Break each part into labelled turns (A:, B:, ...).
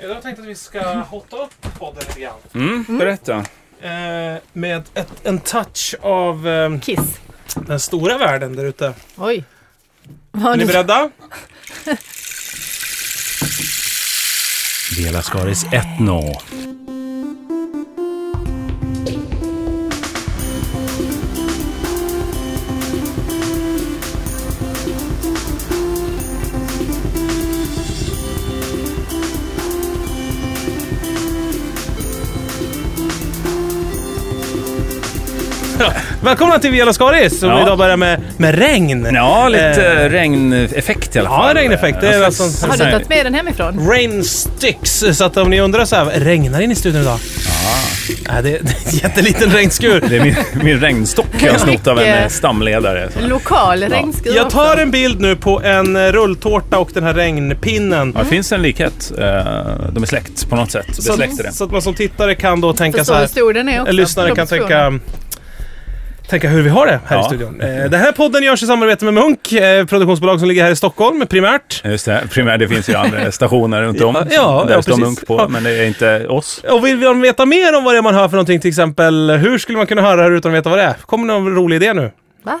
A: Jag tänkte att vi ska hotta upp podden lite grann.
B: Mm, berätta. Mm.
A: Eh, med ett, en touch av eh,
C: Kiss.
A: den stora världen där ute.
C: Oj.
A: Är
C: Vad
A: ni beredda?
D: Dela Skaris Etno.
A: Välkomna till Viola Skaris som
B: Ja.
A: idag börjar med, med regn.
B: Ja, lite
A: Eh,
B: regneffekt i alla
A: ja,
B: fall.
A: regneffekt. Det är
B: Någon slags-
A: alltså-
C: Har du
B: sån här-
C: tagit med den hemifrån?
A: Rain sticks, så att om ni undrar så här, regnar det in i studion idag? Ja. Nej, det, det är en jätteliten regnskur.
B: Det är min, min regnstock jag har snott av en
C: Mycket-
B: eh, stamledare. Så.
C: Lokal regnskur
A: Jag
C: också.
A: tar en bild nu på en eh, rulltårta och den här regnpinnen.
B: Ja, det finns en likhet. Eh, De är släkt på något sätt.
A: Så,
B: Besläktade.
A: att, så att man som tittare kan då tänka så
C: Förstår hur
A: här.
C: stor den är också.
A: Eller lyssnare kan
C: Proportionen.
A: tänka, tänka hur vi har det här i
B: Ja.
A: studion. Eh, Den här podden görs i samarbete med Munk, eh, produktionsbolag som ligger här i Stockholm primärt.
B: Just det, primärt det finns ju andra stationer runt om.
A: Ja, ja,
B: där
A: ja,
B: står
A: precis.
B: Munk på,
A: Ja.
B: men det är inte oss.
A: Och vill man veta mer om vad det är man hör för någonting, till exempel hur skulle man kunna höra det här utan att veta vad det är? Kommer någon rolig idé nu?
C: Va?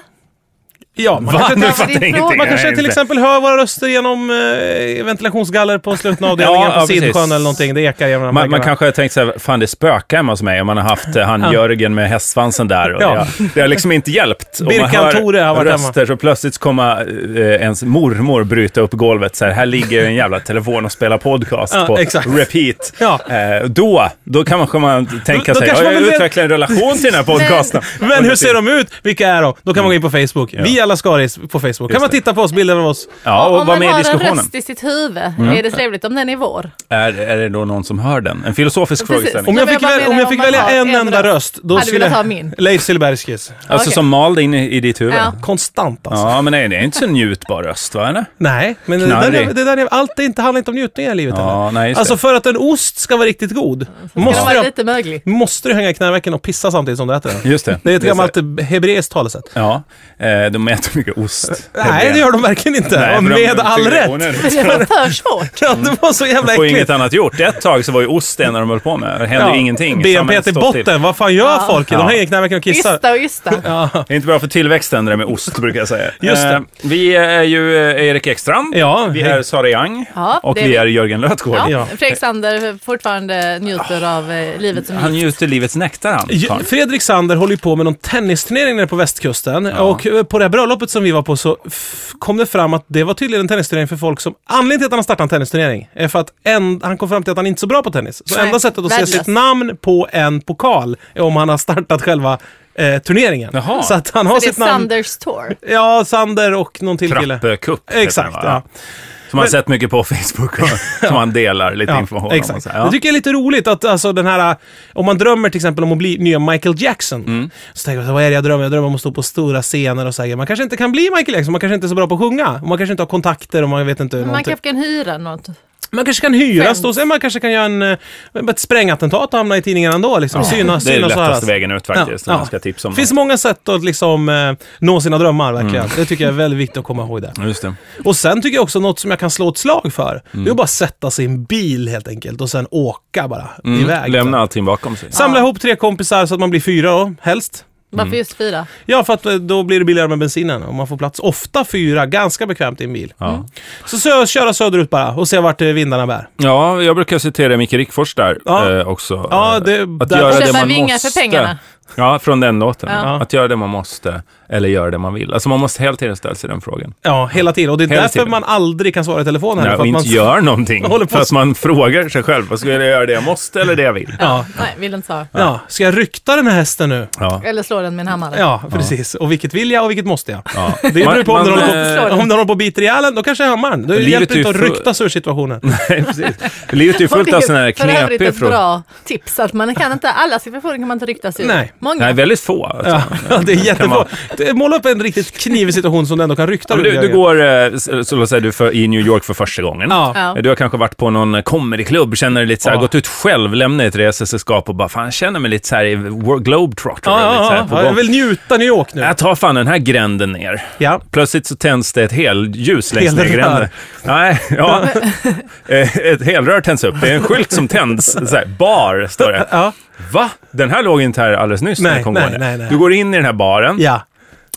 A: Ja, man kanske,
B: Nu
C: det
B: fattar
C: är
B: jag ingenting.
C: frågan.
A: man
B: Nej,
A: kanske till
B: inte.
A: exempel hör våra röster genom eh, ventilationsgaller på slutna avdelningen
B: Ja,
A: på
B: ja, precis.
A: Sidsjön eller någonting. Det ekar genom
B: Man, man
A: väggarna.
B: kanske har tänkt så här, fan det spökar hemma hos mig om man har haft eh, han Jörgen med hästsvansen där. Och
A: Ja.
B: det, har, det har liksom inte hjälpt. Om man
A: Birkan
B: hör
A: Tore har varit hemma.
B: röster så plötsligt kommer eh, ens mormor bryta upp golvet. Så här, här ligger en jävla telefon och spelar podcast
A: Ja,
B: på
A: exakt.
B: repeat.
A: Ja.
B: Eh, då, då kan man, kan man tänka
A: då
B: sig,
A: kanske
B: ja,
A: man
B: jag
A: vill-
B: utvecklar en relation till den här podcasten.
A: Men hur ser de ut? Vilka är de? Då kan man gå in på Facebook. Vi är alla Skaris på Facebook. Kan man titta på oss, bilder av oss.
B: Ja, och vara
C: Om man
B: med i
C: har en
B: diskussionen.
C: röst i sitt huvud,
A: Mm.
C: är det trevligt om den är vår?
B: Är, är det då någon som hör den? En filosofisk
C: Precis.
B: frågeställning.
A: Om
C: Nej,
A: jag
C: men
A: fick,
C: jag bara
A: väl, om
C: menar
A: jag fick
C: om man
A: välja
C: har
A: en
C: en
A: enda
C: röst.
A: röst, då
C: Hade du
A: skulle
C: velat ha min?
A: Leif Silbersky.
B: Alltså
C: Okej.
B: som mal in i, i ditt huvud. Ja.
C: Ja.
A: Konstant alltså.
B: men nej, det är inte så njutbar röst, va? Eller?
A: Nej, men det där,
B: Knarrig.
A: är- det där är, allt det inte, handlar inte om njutningar i livet
B: Ja,
A: heller.
B: nej, just
A: Alltså
B: det.
A: för att en ost ska vara riktigt god,
C: Ska
A: måste
C: den vara
A: du,
C: lite möglig?
A: måste du hänga i knävecken och pissa samtidigt som du äter den.
B: Just det.
A: Det är ett
B: så-
A: gammalt hebreiskt talesätt.
B: Ja, eh, de äter mycket ost.
A: Nej, det gör de verkligen inte. och
B: men de
A: med all
B: tycker det är
A: rätt.
B: onödigt.
C: Det var för svårt.
A: Ja, det var så jävla
B: De får ju inget
A: äckligt.
B: annat gjort. Ett tag så var ju ost det enda de höll på med. Det hände ju ingenting.
A: BNP
B: Samhället
A: till
B: står
A: botten.
B: still.
A: Vad fan gör folk? De
B: Ja.
A: hänger i knävecken och kissar.
C: Ysta och ysta.
B: Det är inte bra för tillväxten det där med ost, brukar jag säga.
A: Just det.
B: Eh, vi är ju eh, Erik Ekstrand.
A: Ja,
B: Vi
A: hej.
B: är Sara Young.
C: Ja,
B: och
C: det är
B: vi
C: vi.
B: är Jörgen Lötgård.
C: Ja.
A: Ja.
C: Fredrik Sander fortfarande njuter av eh, livet som
B: Han njuter livets nektar, han.
A: Ju-
B: Fan.
A: Fredrik Sander håller ju på med någon tennisturnering nere på västkusten. Och eh, på det här bröllopet som vi var på så f- kom det fram att det var tydligen en tennisturnering för folk som... Anledningen till att han har startat en tennisturnering är för att en, han kom fram till att han inte är så bra på tennis. Så
C: Nej,
A: enda sättet att se
C: värdelös.
A: sitt namn på en pokal är om han har startat själva eh, turneringen.
B: Jaha.
A: Så att han har
C: Det är
A: sitt namn...
C: Sanders Tour.
A: Ja, Sander och någon till kille.
B: Trappekupp. heter
A: Exakt,
B: den, va?
A: ja.
B: Som man har sett mycket på Facebook och som han delar lite information om. och
A: exakt.
B: så här. Ja.
A: Det tycker jag är lite roligt att alltså, den här, äh, om man drömmer till exempel om att bli nya Michael Jackson.
B: Mm.
A: Så tänker man, så här, vad är det jag drömmer? Jag drömmer om att stå på stora scener och säga, man kanske inte kan bli Michael Jackson, man kanske inte är så bra på att sjunga. Och man kanske inte har kontakter och man vet inte
C: Man
A: någonting.
C: kanske kan hyra något.
A: Man kanske kan hyras då, sen man kanske kan göra en, eh, ett sprängattentat och hamna i tidningen ändå. Liksom. Synas,
B: Det är
A: synas och höras.
B: lättaste vägen ut faktiskt,
A: Ja,
B: om
A: ja.
B: man ska tipsa om
A: finns
B: något. Mm.
A: många sätt att liksom, eh, nå sina drömmar, verkligen. Det tycker jag är väldigt viktigt att komma ihåg. Det.
B: Just det.
A: Och sen tycker jag också något som jag kan slå ett slag för. Det är
B: Mm.
A: att bara sätta sig i en bil helt enkelt och sen åka bara iväg.
B: Mm,
A: typ.
B: Lämna allting bakom sig.
A: Samla ihop tre kompisar så att man blir fyra då, helst.
C: Varför
A: Mm.
C: just fyra?
A: Ja, för att eh, då blir det billigare med bensinen och man får plats. Ofta fyra, ganska bekvämt i en bil. Mm.
B: Ja.
A: Så, sö- köra söderut bara och se vart eh, vindarna bär.
B: Ja, jag brukar citera Micke Rickfors där
A: Ja.
B: eh, också.
A: Ja,
B: Eh,
A: det-
B: att
A: där-
B: göra det
C: Köpa
B: man
C: vingar
B: måste.
C: för pengarna.
B: Ja, från den låten.
C: Ja.
B: Att göra det man måste, eller göra det man vill. Alltså man måste hela tiden ställa sig den frågan.
A: Ja, hela tiden. Och det är
B: Hela
A: därför
B: tiden.
A: man aldrig kan svara i telefon heller.
B: Nej,
A: för
B: och
A: att
B: inte
A: man...
B: gör någonting.
A: håller på
B: För
A: så-
B: att man frågar sig själv, vad ska jag göra det jag måste eller det jag vill?
A: Ja.
C: Nej, vill inte svara.
A: ja. Ska jag rykta den här hästen nu?
B: Ja.
C: Eller slå den med en hammare.
A: Ja, precis. Och vilket vill jag och vilket måste jag?
B: Ja.
A: Det beror på om
B: Man-
A: den
B: man-
A: håller på,
C: eh,
A: om den håller på och biter ihjäl en, då kanske jag hammar den. Då
B: Livet
A: hjälper det
B: är
A: inte att
B: ju full-
A: ryktas ur situationen.
B: Nej, precis. Livet är ju fullt
C: Och
B: av
C: det är
B: sådana här
C: För övrigt
B: knepiga
C: ett
B: frågor.
C: bra tips att man kan inte, alla situationer kan man inte ryktas ur.
A: Nej.
C: Många.
B: Nej, väldigt få. Alltså.
A: Ja, det är jättebra.
B: man-
A: Måla upp en riktigt knivig situation som du ändå kan rykta
B: Ja, men
A: ur
B: du, du
A: grejen.
B: går, eh, så, så låt säga du för, i New York för första gången.
A: Ja.
C: Ja.
B: Du har kanske varit på någon eh, comedyklubb, känner dig lite så här,
A: Ja.
B: gått ut själv, lämnat ett resesällskap och bara, fan, jag känner mig lite så här i wor- globetrotter.
A: Ja,
B: lite så
A: ja,
B: här
A: ja,
B: på
A: ja,
B: gång.
A: jag vill njuta New York nu.
B: Jag tar fan den här gränden ner.
A: Ja.
B: Plötsligt så tänds det ett helljus längs
A: Helrör.
B: med gränden. Nej, ja. Eh, ett helrör tänds upp. Det är en skylt som tänds. Så här, bar, står det.
A: Ja,
B: Va? Den här låg inte här alldeles nyss när
A: Nej,
B: jag kom
A: nej,
B: gående.
A: nej, nej.
B: Du går in i den här baren.
A: ja.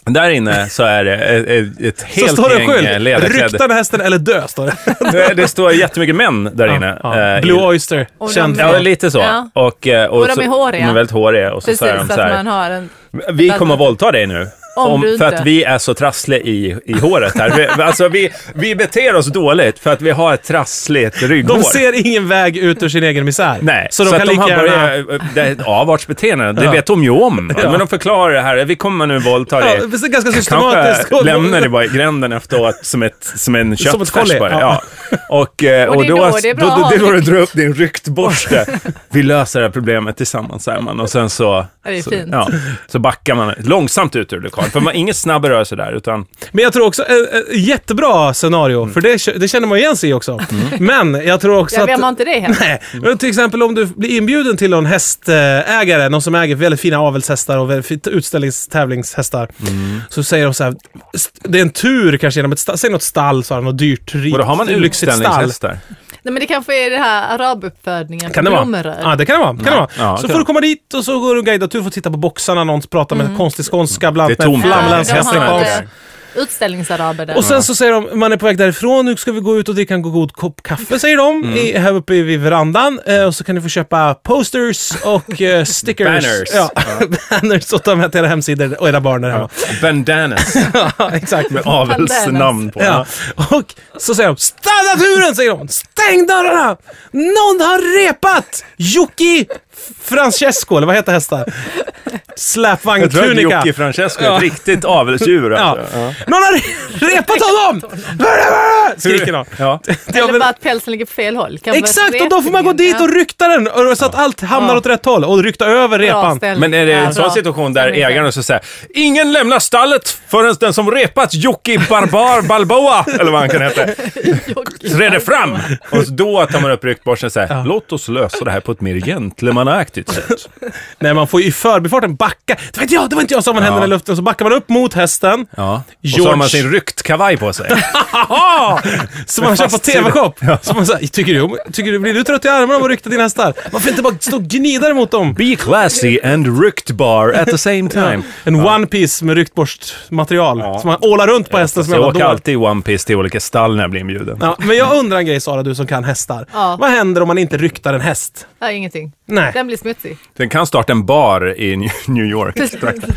B: Där inne så är det ett, ett
A: Så
B: helt
A: står det en
B: gäng eh,
A: skylt.
B: ledarklädda.
A: Rykta den hästen eller dö, står det.
B: Nej, Det står jättemycket män där inne.
A: Ja, ja.
B: eh,
A: Blue
B: i-
A: Oyster,
C: Och de-
A: känd
B: Ja,
A: för...
B: lite så.
C: Ja.
B: Och, eh,
C: Och de
B: så-
C: är håriga.
B: De är väldigt håriga. Och så
C: Precis,
B: säger de
C: att
B: så här,
C: man har en...
B: vi kommer att våldta dig nu.
C: Om du
B: för
C: inte-
B: att vi är så trassliga i, i håret här. Vi, alltså vi, vi beter oss dåligt för att vi har ett trassligt rygghår.
A: De ser ingen väg ut ur sin egen misär.
B: Nej,
A: så de
B: att
A: kan lika
B: har
A: gärna...
B: börjat- Det är ett avartsbeteende, det
A: Ja.
B: vet de ju om.
A: Ja.
B: Men de förklarar det här, vi kommer nu våldta dig.
A: Ja, det är ganska systematiskt.
B: Kanske lämnar det bara i gränden efteråt som, ett, som en köttfärs
A: kolli,
B: bara.
A: ja.
B: Ja. Och, eh,
C: Och det är då det är bra
B: då, då,
C: att
B: då, då
C: ha
B: du drar upp din ryktborste. Vi löser det här problemet tillsammans, säger man. Och sen så,
C: Ja, det är
B: så,
C: fint.
B: ja, så backar man långsamt ut ur lokalen. För man inget snabb rörelse där, utan
A: Men jag tror också, eh, eh, jättebra scenario,
B: Mm.
A: för det, det känner man igen sig i också. Men jag tror också
C: Ja,
A: att...
C: vem har inte det hemma?
A: Nej, men till exempel om du blir inbjuden till någon hästägare, någon som äger väldigt fina avelshästar och väldigt fint utställningstävlingshästar.
B: Mm.
A: Så säger de så här, st- det är en tur kanske genom ett stall, säg något stall så här, något dyrt, rikt,
B: och då har man
A: lyxigt stall.
B: utställningshästar.
C: Nej, men det kanske är det här arabuppfödningen
A: Kan det
C: på
A: vara?
C: Blommeröd.
A: Ja, det kan det vara. Kan det vara.
B: Ja,
A: så
B: kan
A: får
B: det.
A: du komma dit och så går du guidad tur, får titta på boxarna, någon pratar med konstig skånska, bland
B: Det är
A: med
B: tomt.
A: flamländsk
B: Ja, de har-
A: ja,
B: hästreklam.
C: Utställningsaraber där.
A: Och sen så säger de, man är på väg därifrån, nu ska vi gå ut och dricka en god kopp kaffe, säger de, i, här uppe vid verandan. Eh, och så kan ni få köpa posters och eh, stickers.
B: Banners.
A: Ja, banners och ta med till era hemsidor och era barn där hemma.
B: Bandanas
A: Ja, exakt.
B: med avelsnamn på.
A: Ja. Och så säger de, stanna turen, säger de. Stäng dörrarna! Någon har repat! Jocki Francesco, eller vad heter hästar? Släpvagn
B: Jag tror att
A: Tunica.
B: Jocke Francesco är ett riktigt avelsdjur.
A: Ja.
B: Alltså. Ja.
A: Någon har re- repat honom! Skriker någon.
B: Ja.
A: Ja,
C: Eller
A: men-
C: bara att pälsen ligger på fel håll. Kan
A: Exakt,
C: vara
A: och då får man gå dit och rykta den och- så att allt hamnar
C: Ja.
A: åt rätt håll och rykta över
C: Bra
A: repan.
C: ställning.
B: Men är det
C: Ja,
B: en sån
C: bra.
B: situation där
C: Stämning.
B: ägaren så säger ingen lämnar stallet förrän den som repat Jocke Barbar Balboa, eller vad han kan heta, träder fram. Och då tar man upp ryktborsten och säger, låt oss lösa det här på ett mer gentlemannaaktigt sätt.
A: Nej, man får ju i förbifarten backa. Det var inte jag, det var inte jag, så har man händerna i luften och så backar man upp mot hästen.
B: Ja. Och så
A: George.
B: har man sin ryktkavaj på sig.
A: Haha! Som man
B: Med
A: kör på
B: fast sida.
A: TV-shop. Som man säger, tycker du, om- tycker du, blir du trött i armarna av att rykta dina hästar? Man får inte bara stå och gnida emot dem.
B: Be classy and ryktbar at the same time.
A: En one piece med ryktborstmaterial
B: Ja.
A: som man ålar runt på hästen som
B: Jag
A: jävla
B: åker
A: dåre.
B: alltid i One Piece till olika stall när jag blir inbjuden.
A: Ja, men jag undrar en grej Sara, du som kan hästar.
C: Ja.
A: Vad händer om man inte ryktar en häst?
C: Ja, ingenting.
A: Nej.
C: Den blir smutsig.
B: Den kan starta en bar i New- New York.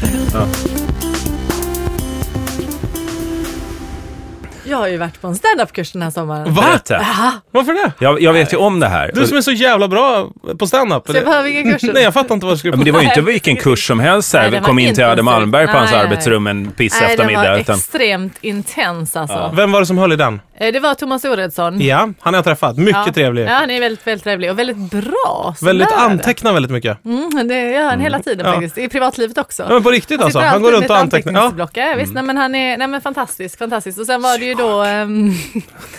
C: Jag har ju varit på en standup-kurs den här sommaren.
A: Va?
B: Berätta.
A: Varför det?
B: Jag, jag vet ju om det här.
A: Du som är så jävla bra på standup.
C: Så jag behöver inga kurser.
A: Nej, jag fattar inte vad du skulle
B: Ja, men det var ju inte vilken kurs som helst. Så här.
C: Nej, det
B: Vi
C: var
B: kom in till Adam
C: intensiv.
B: Malmberg på hans
C: Nej, nej.
B: arbetsrum en piss
C: Nej, den var
B: eftermiddag. Utan,
C: extremt intens alltså.
A: Vem var det som höll i den?
C: Eh, Det var Thomas Oredsson.
A: Ja, han har jag träffat. Mycket
C: Ja.
A: trevlig.
C: Ja, han är väldigt, väldigt trevlig och väldigt bra. sån
A: Väldigt
C: där.
A: antecknar väldigt mycket.
C: Mm, det gör han hela tiden
A: Ja.
C: faktiskt. I privatlivet också.
A: Ja, men på riktigt alltså.
C: sitter
A: Han går
C: alltid
A: runt och
C: med ett
A: antecknar. Ja.
C: anteckningsblock. Ja. visst. Nej, men han är nej, men fantastisk, fantastisk. Och sen var det ju då ehm,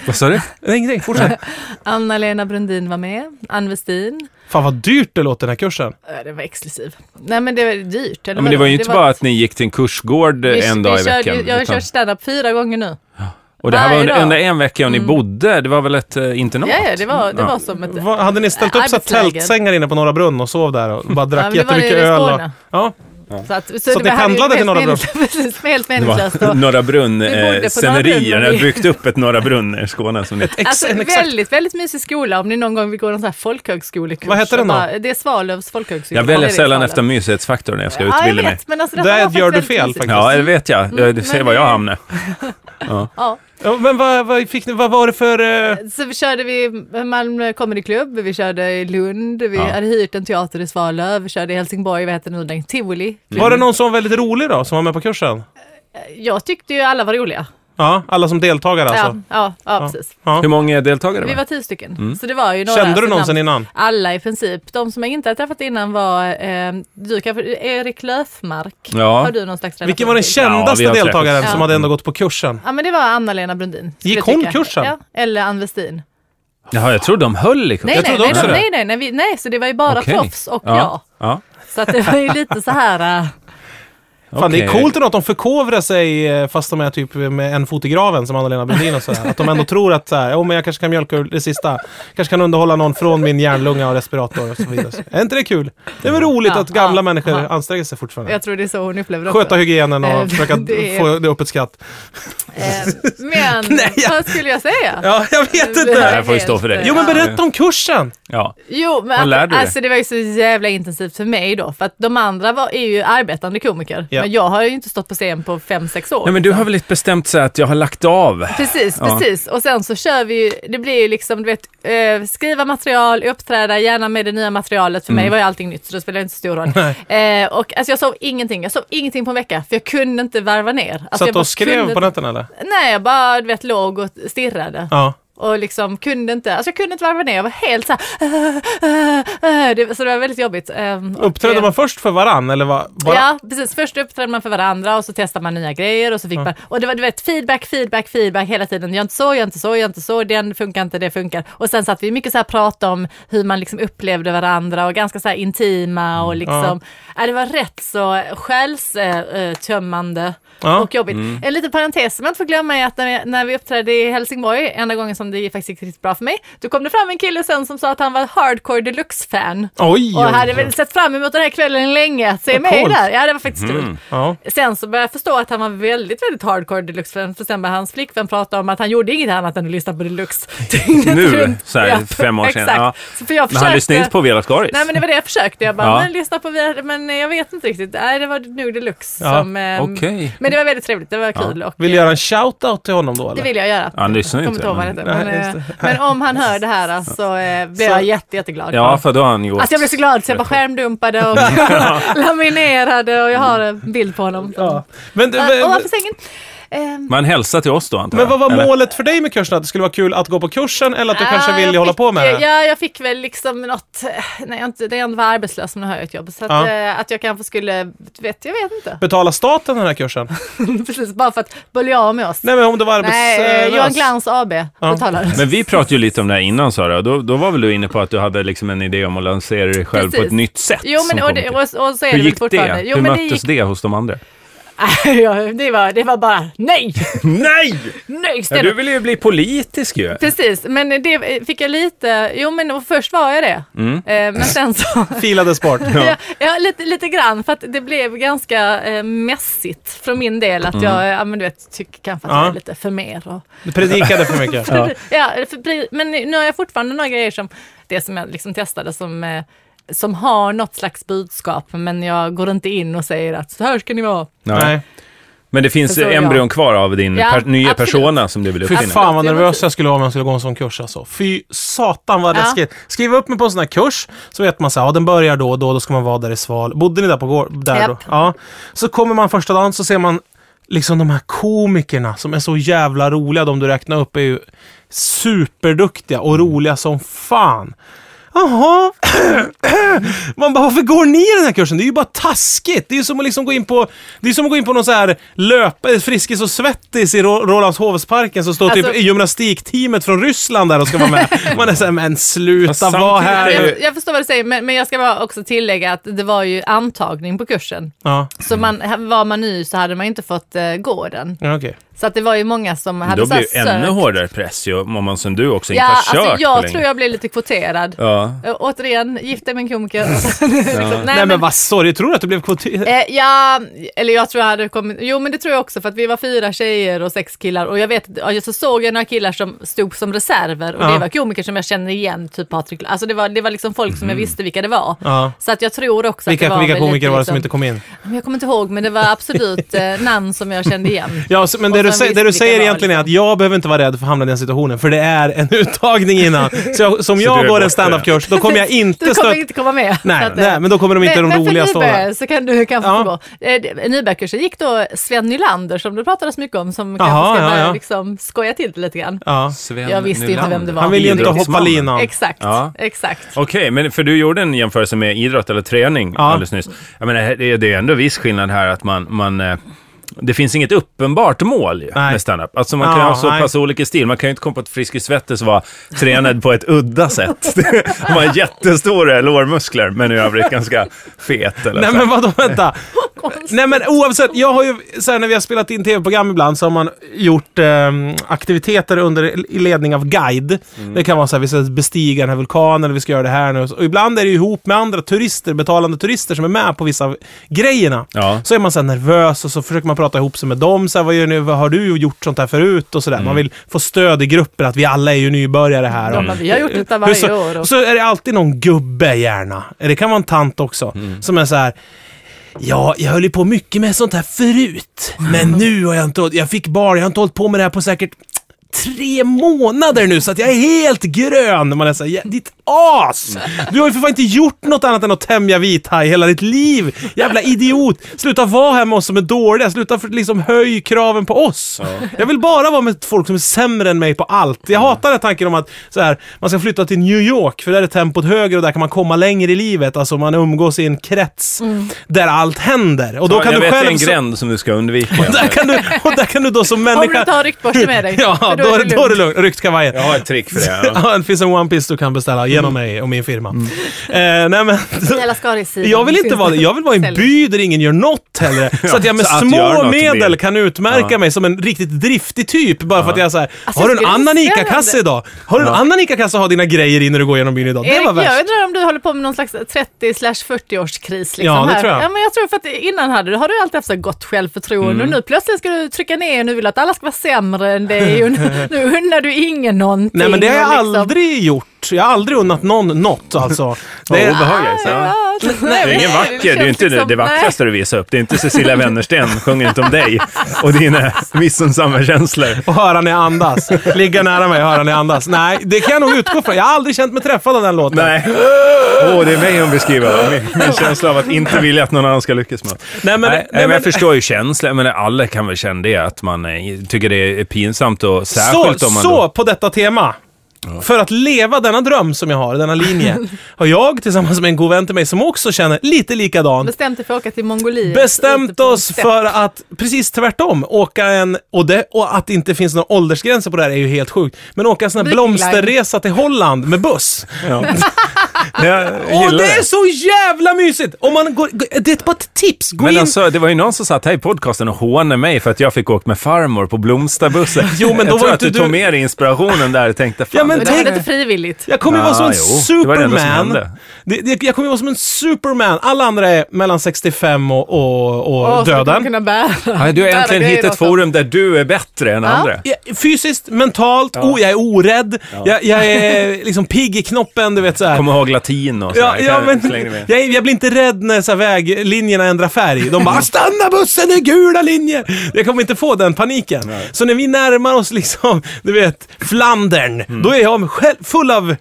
B: vad sa du?
A: Nej, ingenting. Fortsätt.
C: Anna-Lena Brundin var med, Ann Westin.
A: Fan vad dyrt det låter den här kursen.
C: Eh, Den var exklusiv. Nej men det var dyrt. Eller
B: Ja, men det var ju inte bara att ni gick till en kursgård
C: vi-
B: en
C: vi
B: dag i
C: körde ju-
B: veckan.
C: Jag har
B: utan-
C: kört standup fyra gånger nu.
B: och det här
C: varje
B: var under,
C: dag.
B: under en vecka och ni bodde. Det var väl ett eh, internat?
C: Mm. Ja, ja, det var, det
B: Ja.
C: var som ett...
A: Vad- Hade ni ställt upp så här
C: Arbetsläger.
A: tältsängar inne på Norra Brunn och sov där och bara drack
C: men det var
A: jättemycket
C: i
A: öl? Och,
C: Skåne.
A: ja.
C: Så, att, så,
A: ni
C: hade ju
A: pendlade till
C: helt
A: Norra Brunn?
C: meningslöst- Precis, helt
B: Det
C: meningslöst.
B: var
C: Och-
B: Norra Brunn
C: Vi bodde på
B: eh,
C: Norra
B: scenerier.
C: Brunn.
B: Ni hade byggt upp ett Norra Brunn i Skåne. Som ni...
A: Ex-
C: Alltså
A: en exakt.
C: väldigt, väldigt mysig skola om ni någon gång vill gå någon sån här folkhögskolekurs.
A: Vad heter den då?
C: Och bara- Det är Svalövs folkhögskola.
B: Jag väljer
C: Det är
B: sällan
C: Svalöv.
B: efter mysighetsfaktor när jag ska
C: Ja, jag
B: utbilda mig.
C: vet, men alltså det
A: Där
C: här var
A: gör du
C: faktiskt
A: fel
C: väldigt mysigt.
A: faktiskt.
B: Ja, det vet jag. Du, du ser
C: men-
B: var jag hamnar.
C: Ja.
A: Ja, men vad, vad, fick ni, vad var det för... eh,
C: Så vi körde vi Malmö Comedy Club, vi körde i Lund, vi
B: Ja.
C: hade hyrt en teater i Svalöv, vi körde i Helsingborg, vad heter det nu, den? Tivoli.
A: Var det någon som var väldigt rolig då, som var med på kursen?
C: Jag tyckte ju alla var roliga.
A: Ja, alla som deltagare
C: Ja,
A: alltså.
C: ja, ja, precis.
A: Ja.
B: Hur många deltagare?
C: Vi
B: var det? Mm.
C: var tio stycken. Så det var ju några
A: Kände du
C: som
A: någon sen
C: namn-
A: innan?
C: Alla i princip. De som jag inte har träffat innan var, eh, du kanske, Erik Löfmark.
B: Ja.
C: Har du någon slags relation
A: Vilken var den
C: till?
A: kändaste
B: Ja, vi har
A: deltagaren
B: träffats.
A: som
C: Ja.
A: hade ändå gått på kursen?
C: Ja men det var Anna-Lena Brundin. skulle
A: Gick
C: jag
A: hon
C: tycka.
A: kursen?
C: Ja, eller Ann Westin.
B: Jaha, jag trodde de höll i
C: Nej,
A: Jag
C: nej,
A: trodde
C: nej,
A: också
C: nej,
A: det.
C: nej, nej, nej, vi- nej, så det var ju bara
B: Okej.
C: proffs och jag.
B: Ja. ja.
C: Så att det var ju lite så här, äh,
A: Fan, det är
B: Okej.
A: coolt ändå att de förkovrar sig eh, fast de är typ med en fot i graven som Anna-Lena Brundin och sådär. Att de ändå tror att så här, "Jo, men jag kanske kan mjölka ur det sista. Kanske kan underhålla någon från min hjärnlunga och respirator och så vidare. Så, Är inte det kul? Det är väl roligt
C: Ja,
A: att gamla
C: ja,
A: människor
C: ja.
A: anstränger sig fortfarande.
C: jag tror det är så hon upplever det också.
A: Sköta hygienen och
C: Eh,
A: försöka
C: det är-
A: få det upp ett skratt.
C: Eh, Men
A: Nej, jag-
C: vad skulle jag säga?
A: Ja, jag vet inte.
B: här får ju stå för dig.
A: Jo, men berätta om kursen!
B: Ja.
C: Jo, men
B: Vad lär du
C: att,
B: dig?
C: alltså det var ju så jävla intensivt för mig då, för att de andra var, är ju arbetande komiker.
A: Ja.
C: Men jag har ju inte stått på scen på fem sex år.
B: Nej, men du har väl ett bestämt så här att jag har lagt av?
C: Precis,
B: Ja.
C: precis. Och sen så kör vi ju, det blir ju liksom, du vet, eh, skriva material, uppträda, gärna med det nya materialet.
A: Mm.
C: För mig var ju allting nytt så det spelade inte så stor roll. Eh, och alltså jag sov ingenting, jag sov ingenting på en vecka för jag kunde inte varva ner. Alltså,
A: Satt
C: jag
A: du
C: bara
A: och skrev
C: kunde,
A: på nätterna eller?
C: Nej, jag bara du vet, låg och stirrade.
A: Ja.
C: Och liksom kunde inte, alltså jag kunde inte varva ner, jag var helt så "Ah, här, ah, det, så det var väldigt jobbigt. Ehm, och,
A: Uppträdde
C: eh,
A: man först för varann eller var, bara...
C: Ja, precis. Först uppträdde man för varandra och så testade man nya grejer och så fick man, och det var du vet, feedback, feedback, feedback hela tiden. Gör inte så, gör inte så, gör inte så, den funkar inte, det funkar. Och sen satt vi mycket så här och pratade om hur man liksom upplevde varandra och ganska så här intima och liksom, ja. det var rätt så själstömmande.
A: Ja.
C: Och jobbigt. En liten parentes som jag inte får glömma är att när vi, när vi uppträdde i Helsingborg, enda gången som det faktiskt gick riktigt bra för mig, då kom det fram en kille sen som sa att han var hardcore deluxe-fan.
A: Oj,
C: Och hade
A: oj,
C: väl
A: oj.
C: sett fram emot den här kvällen länge. Se mig
A: coolt.
C: där. Ja, det var faktiskt
B: Mm.
C: kul.
A: Ja.
C: Sen så började jag förstå att han var väldigt, väldigt hardcore deluxe. För sen började hans flickvän prata om att han gjorde inget annat än att lyssna på deluxe. dygnet
B: Nu,
C: runt.
B: så här fem år
C: exakt.
B: senare. Ja.
C: Så för jag
B: Men
C: försökte...
B: han lyssnar inte på Vela Skaris.
C: Nej men det var det jag försökte. Jag bara,
B: Ja.
C: men lyssna på vidare, men jag vet inte riktigt. Nej det var nog deluxe
A: Ja,
C: som... ehm,
B: okej.
C: Men det var väldigt trevligt, det var kul. Och,
A: Vill du göra en shout-out till honom då
C: det
A: eller?
C: vill jag göra.
B: Han lyssnar ju
C: Kommer
B: inte.
C: inte ihåg vad
B: men-
C: han
A: Nej,
C: heter. Men, eh,
A: just
C: men om han hör det här eh, så eh, blir
A: Så-
C: jag jätte, jätteglad.
B: Ja, för då har han gått.
C: Alltså jag blev så glad så jag bara skärmdumpade och laminerade och jag har en bild på honom.
A: Ja. Men, du,
C: Äh,
A: men,
C: Ovanför sängen. Ehm,
B: Man hälsar till oss då antar
A: men vad var
B: Eller?
A: målet för dig med kursen? Att det skulle vara kul att gå på kursen eller att du kanske
C: ah,
A: vill
C: jag
A: hålla
C: fick,
A: på med det?
C: Ja, jag fick väl liksom något, nej jag inte, det är ändå var arbetslös men nu har jag ett jobb. Så att,
A: Ja.
C: eh, att jag kanske skulle, vet, jag vet inte.
A: Betala staten den här kursen?
C: Precis, bara för att börja av med oss.
A: Nej men om du var
C: Nej, eh, Johan
A: arbetslös.
C: Glans AB betalar.
B: Men vi pratade ju lite om det här innan Sara, då, då var väl du inne på att du hade liksom en idé om att lansera dig själv på
C: Precis.
B: ett nytt sätt.
C: Jo
B: som
C: men och,
B: kom
C: det,
B: till.
C: och, och så är det
B: Hur
C: väl
B: gick
C: fortfarande.
B: det?
C: Jo,
B: Hur
C: men
B: möttes det, hos de andra?
C: gick, det, var, det var bara nej,
B: Nej!
C: nej
B: Ja,
C: Sten
B: du vill ju bli politisk ju.
C: Precis, men det eh, fick jag lite, jo men och först var jag det. Eh, men sen så,
A: Filades bort.
C: ja, ja, lite, lite grann för att det blev ganska eh, mässigt från min del att jag, ja men du vet, tycker kanske att
A: Ja.
C: jag är lite för mer och,
A: Du predikade för mycket.
B: Ja.
C: ja, för, pre- men nu har jag fortfarande några grejer som, det som jag liksom testade som, eh, som har något slags budskap men jag går inte in och säger att så här ska ni vara.
B: Nej.
A: Nej.
B: Men det finns
C: Så jag-
B: embryon kvar av din
C: Ja,
B: per, nya
C: absolut.
B: persona som du vill
A: Fy
B: uppfinna.
A: fan vad
C: Det var
A: nervös jag skulle vara om jag skulle gå en sån kurs alltså. Fy satan vad
C: Ja.
A: läskigt. Skriva upp mig på en sån här kurs så vet man så här, ja den börjar då och då, då ska man vara där i Sval. Bodde ni där på går, där då?
C: Japp.
A: Ja. Så kommer man första dagen så ser man liksom de här komikerna som är så jävla roliga, de du räknar upp är ju superduktiga och roliga som fan. Jaha. Man bara, varför går ni i den här kursen? Det är ju bara taskigt. Det är ju som att liksom gå in på, det är som att gå in på någon så här löpa, Friskis och Svettis i Rå- Rålambshovsparken som står
C: Alltså-
A: typ i gymnastikteamet från Ryssland där och ska vara med. Man är såhär, men sluta,
B: Fast
A: var
B: samtidigt är
A: här.
B: det-
A: nu."
C: Jag, jag förstår vad du säger men, men jag ska bara också tillägga att det var ju antagning på kursen.
A: Ja,
C: Så man, var man ny så hade man inte fått eh, gå den.
A: ja okej.
C: Så att det var ju många som hade
B: Då
C: Alltså, så här
B: blir det ännu
C: sökt.
B: hårdare press ju, om man som du också inte
C: Ja,
B: har
C: alltså
B: kört på
C: jag
B: länge.
C: tror jag blev lite kvoterad.
B: Ja.
C: Ö, Återigen, gift dig med en komiker. liksom, nej,
A: Nej men vad sorry, tror du att det blev kvoterat?
C: Eh, ja, eller jag tror jag hade kommit, jo men det tror jag också för att vi var fyra tjejer och sex killar och jag vet, ja, så såg jag några killar som stod som reserver och
A: Ja.
C: det var komiker som jag känner igen, typ Patrik, alltså det var, det var liksom folk som jag visste vilka det var.
A: Mm. Ja.
C: Så att jag tror också att det
A: Vilka,
C: var
A: vilka
C: väl
A: komiker
C: lite
A: var det
C: liksom-
A: som inte kom in?
C: Men Jag kommer inte ihåg men det var absolut eh, namn som jag kände igen.
A: Ja, så- men det
C: Och
A: du sä-
C: så man
A: det
C: visste
A: du
C: vilka
A: säger
C: det var,
A: egentligen är att
C: liksom.
A: jag behöver inte vara rädd för att hamna i den situationen, för det är en uttagning innan. Så jag, som
B: Så du
A: jag
B: är
A: går
B: borta,
A: en standup-kurs, då kommer jag inte
C: Du kommer
A: stöta...
C: inte komma med. Så
A: Nej,
C: att, eh,
A: nej, men då kommer de inte de
C: men, men för
A: roligaste av
C: nybörjare så kan du kanske
A: Ja.
C: få gå. Eh, det- Nybörjarkursen gick då Sven Nylander som du pratade så mycket om som
A: Jaha,
C: kanske ska
A: ja,
C: börja
A: ja.
C: liksom skoja till det lite grann.
A: Ja.
B: Sven
C: Jag visste inte vem det var.
A: Han vill ju inte hoppa
B: Idrottsmannen.
A: linan.
C: Exakt,
B: Ja.
C: exakt.
B: Okej, men för du gjorde en jämförelse med idrott eller träning
A: Ja.
B: alldeles nyss. Jag menar, det är det är ändå viss skillnad här att man, man eh, det finns inget uppenbart mål ju
A: Nej.
B: med standup. Alltså man kan
A: Ja,
B: ha så
A: nej.
B: pass olika stil. Man kan ju inte komma på att Friskis Svettis var tränad på ett udda sätt. De har jättestora lårmuskler, men i övrigt ganska fet. Eller
A: Nej
B: så.
A: men vadå, vänta. Nej men oavsett, jag har ju, så här, när vi har spelat in tv-program ibland så har man gjort ehm, aktiviteter under i ledning av guide. Det kan vara så här, vi ska bestiga den här vulkanen, eller vi ska göra det här nu. Och ibland är det ju ihop med andra turister, betalande turister som är med på vissa av grejerna.
B: Ja.
A: Så är man så här nervös och så försöker man prata ihop sig med dem. Så här, vad gör ni, vad har du gjort sånt här förut? Och så där. Man vill få stöd i gruppen, att vi alla är ju nybörjare här.
C: Ja,
A: och-
C: men vi har gjort detta
A: hur
C: varje
A: så,
C: år. Och...
A: Så är det alltid någon gubbe gärna. Det kan vara en tant också. Som är så här. Ja, jag höll ju på mycket med sånt här förut. Men nu har jag inte hållit, Jag fick bara, jag har inte hållit på med det här på säkert tre månader nu så att jag är helt grön. Man är såhär, "Ja, ditt as! Du har ju för fan inte gjort något annat än att tämja vithaj hela ditt liv. Jävla idiot! Sluta vara här med oss som är dåliga. Sluta för, liksom höj kraven på oss. Jag vill bara vara med folk som är sämre än mig på allt. Jag
B: Mm.
A: hatar den här tanken om att så här, man ska flytta till New York för där är tempot högre och där kan man komma längre i livet. Alltså man umgås i en krets där allt händer. Och då kan
B: jag
A: du
B: vet det är
A: själv...
B: en
A: så-
B: gränd som du ska undvika.
A: där kan du, och där kan du då som
C: Om du inte
A: människa...
C: har ryktborste med dig.
A: Ja,
C: för
A: då är det, då är det lugnt. Ryckt kavajen.
B: Jag har ett trick för det. Ja. Mm.
A: Ja, det finns en One Piece du kan beställa genom mig och min firma. Eh, nej, men,
C: Snälla Skaris-sidan.
A: jag vill inte vara det. Jag vill vara i en
C: Sälj.
A: by där ingen gör något heller. Så att jag med
B: så att göra
A: små
B: något
A: medel
B: mer.
A: kan utmärka
B: Ja.
A: mig som en riktigt driftig typ. Bara för att jag är såhär,
C: Alltså,
A: har du en
C: jag tycker det är
A: annan
C: spännande."
A: ICA-kasse idag? Har du en annan ICA-kasse att ha dina grejer i när du går genom byn idag? Det
C: Erik,
A: var
C: jag
A: värst.
C: undrar om du håller på med någon slags 30 40 årskris liksom
A: Ja, det
C: här.
A: tror jag.
C: Ja, men jag tror för att innan hade du, har du alltid haft så gott självförtroende
A: Mm.
C: och nu plötsligt ska du trycka ner och nu vill att alla ska vara sämre än dig och nu, nu unnar du ingen någonting.
A: Nej men det har jag
C: och liksom-
A: aldrig gjort. Jag har aldrig unnat någon något alltså. Det är,
B: obehagligt. Ja.
C: Ja, nej,
B: Det är ingen vacker, det är ju
C: känns liksom-
B: inte
A: liksom-
B: det, det vackraste du visar upp. Det är inte Cecilia Wennersten sjunger inte om dig och dina missunnsamma känslor.
A: och höra när jag andas. Ligga nära mig och höra när jag andas. Nej, det kan jag nog utgå från. Jag har aldrig känt mig träffad av den låten.
B: Nej. Åh, det är mig hon beskriver. Min, min känsla av att inte vilja att någon annan ska lyckas med.
A: Nej, men-
B: nej,
A: nej,
B: nej, men
A: men-
B: jag förstår ju känslan. Men alla kan väl känna det, att man eh, tycker det är pinsamt och särskilt
A: så,
B: om man...
A: så
B: då-
A: på detta tema. För att leva denna dröm som jag har, denna linje, har jag tillsammans med en god vän till mig som också känner lite likadant
C: Bestämt dig för att åka till Mongoliet.
A: bestämt
C: Ute på
A: oss
C: stepp.
A: för att, precis tvärtom, åka en, och, det, och att det inte finns några åldersgränser på det här är ju helt sjukt, men åka en sån här
C: Big line.
A: blomsterresa till Holland med buss.
B: Jag
A: Åh,
B: gillar
A: det är så jävla mysigt! Om man går, gå- det är bara ett tips, gå
B: Men
A: in
B: alltså, det var ju någon som satt här i podcasten och hånade mig för att jag fick åka med farmor på Blomsterbussen.
A: Jo, men
B: jag
A: då
B: tror
A: var
B: att
A: inte
B: du,
A: du-
B: tog med dig inspirationen där och tänkte, fan,
A: Ja, men
B: det
C: Men det var
A: tänk-
C: lite frivilligt.
A: Jag kommer ju vara som en
B: Ah, jo. Det var det enda som
A: superman.
B: hände.
A: Det det, jag kommer ju vara som en superman. Alla andra är mellan 65 och, och, och
C: Åh, ska du
A: döden.
C: kunna bära.
B: Ja, du har
C: Där
B: äntligen
C: grejer
B: hittat ett
C: någonstans.
B: forum där du är bättre än andra.
A: Ja, fysiskt, mentalt, oh jag är orädd, jag, jag är liksom pigg i knoppen, du vet så här.
B: Kommer ihåg latin och
A: Ja,
B: sådär.
A: ja,
B: Kan-
A: men,
B: släng det med.
A: jag, jag blir inte rädd när så här väglinjerna ändrar färg. De bara “Stanna bussen, det är gula linjer!” Jag kommer inte få den paniken. Så när vi närmar oss liksom, du vet, Flandern,
B: Mm.
A: då är jag själv, full av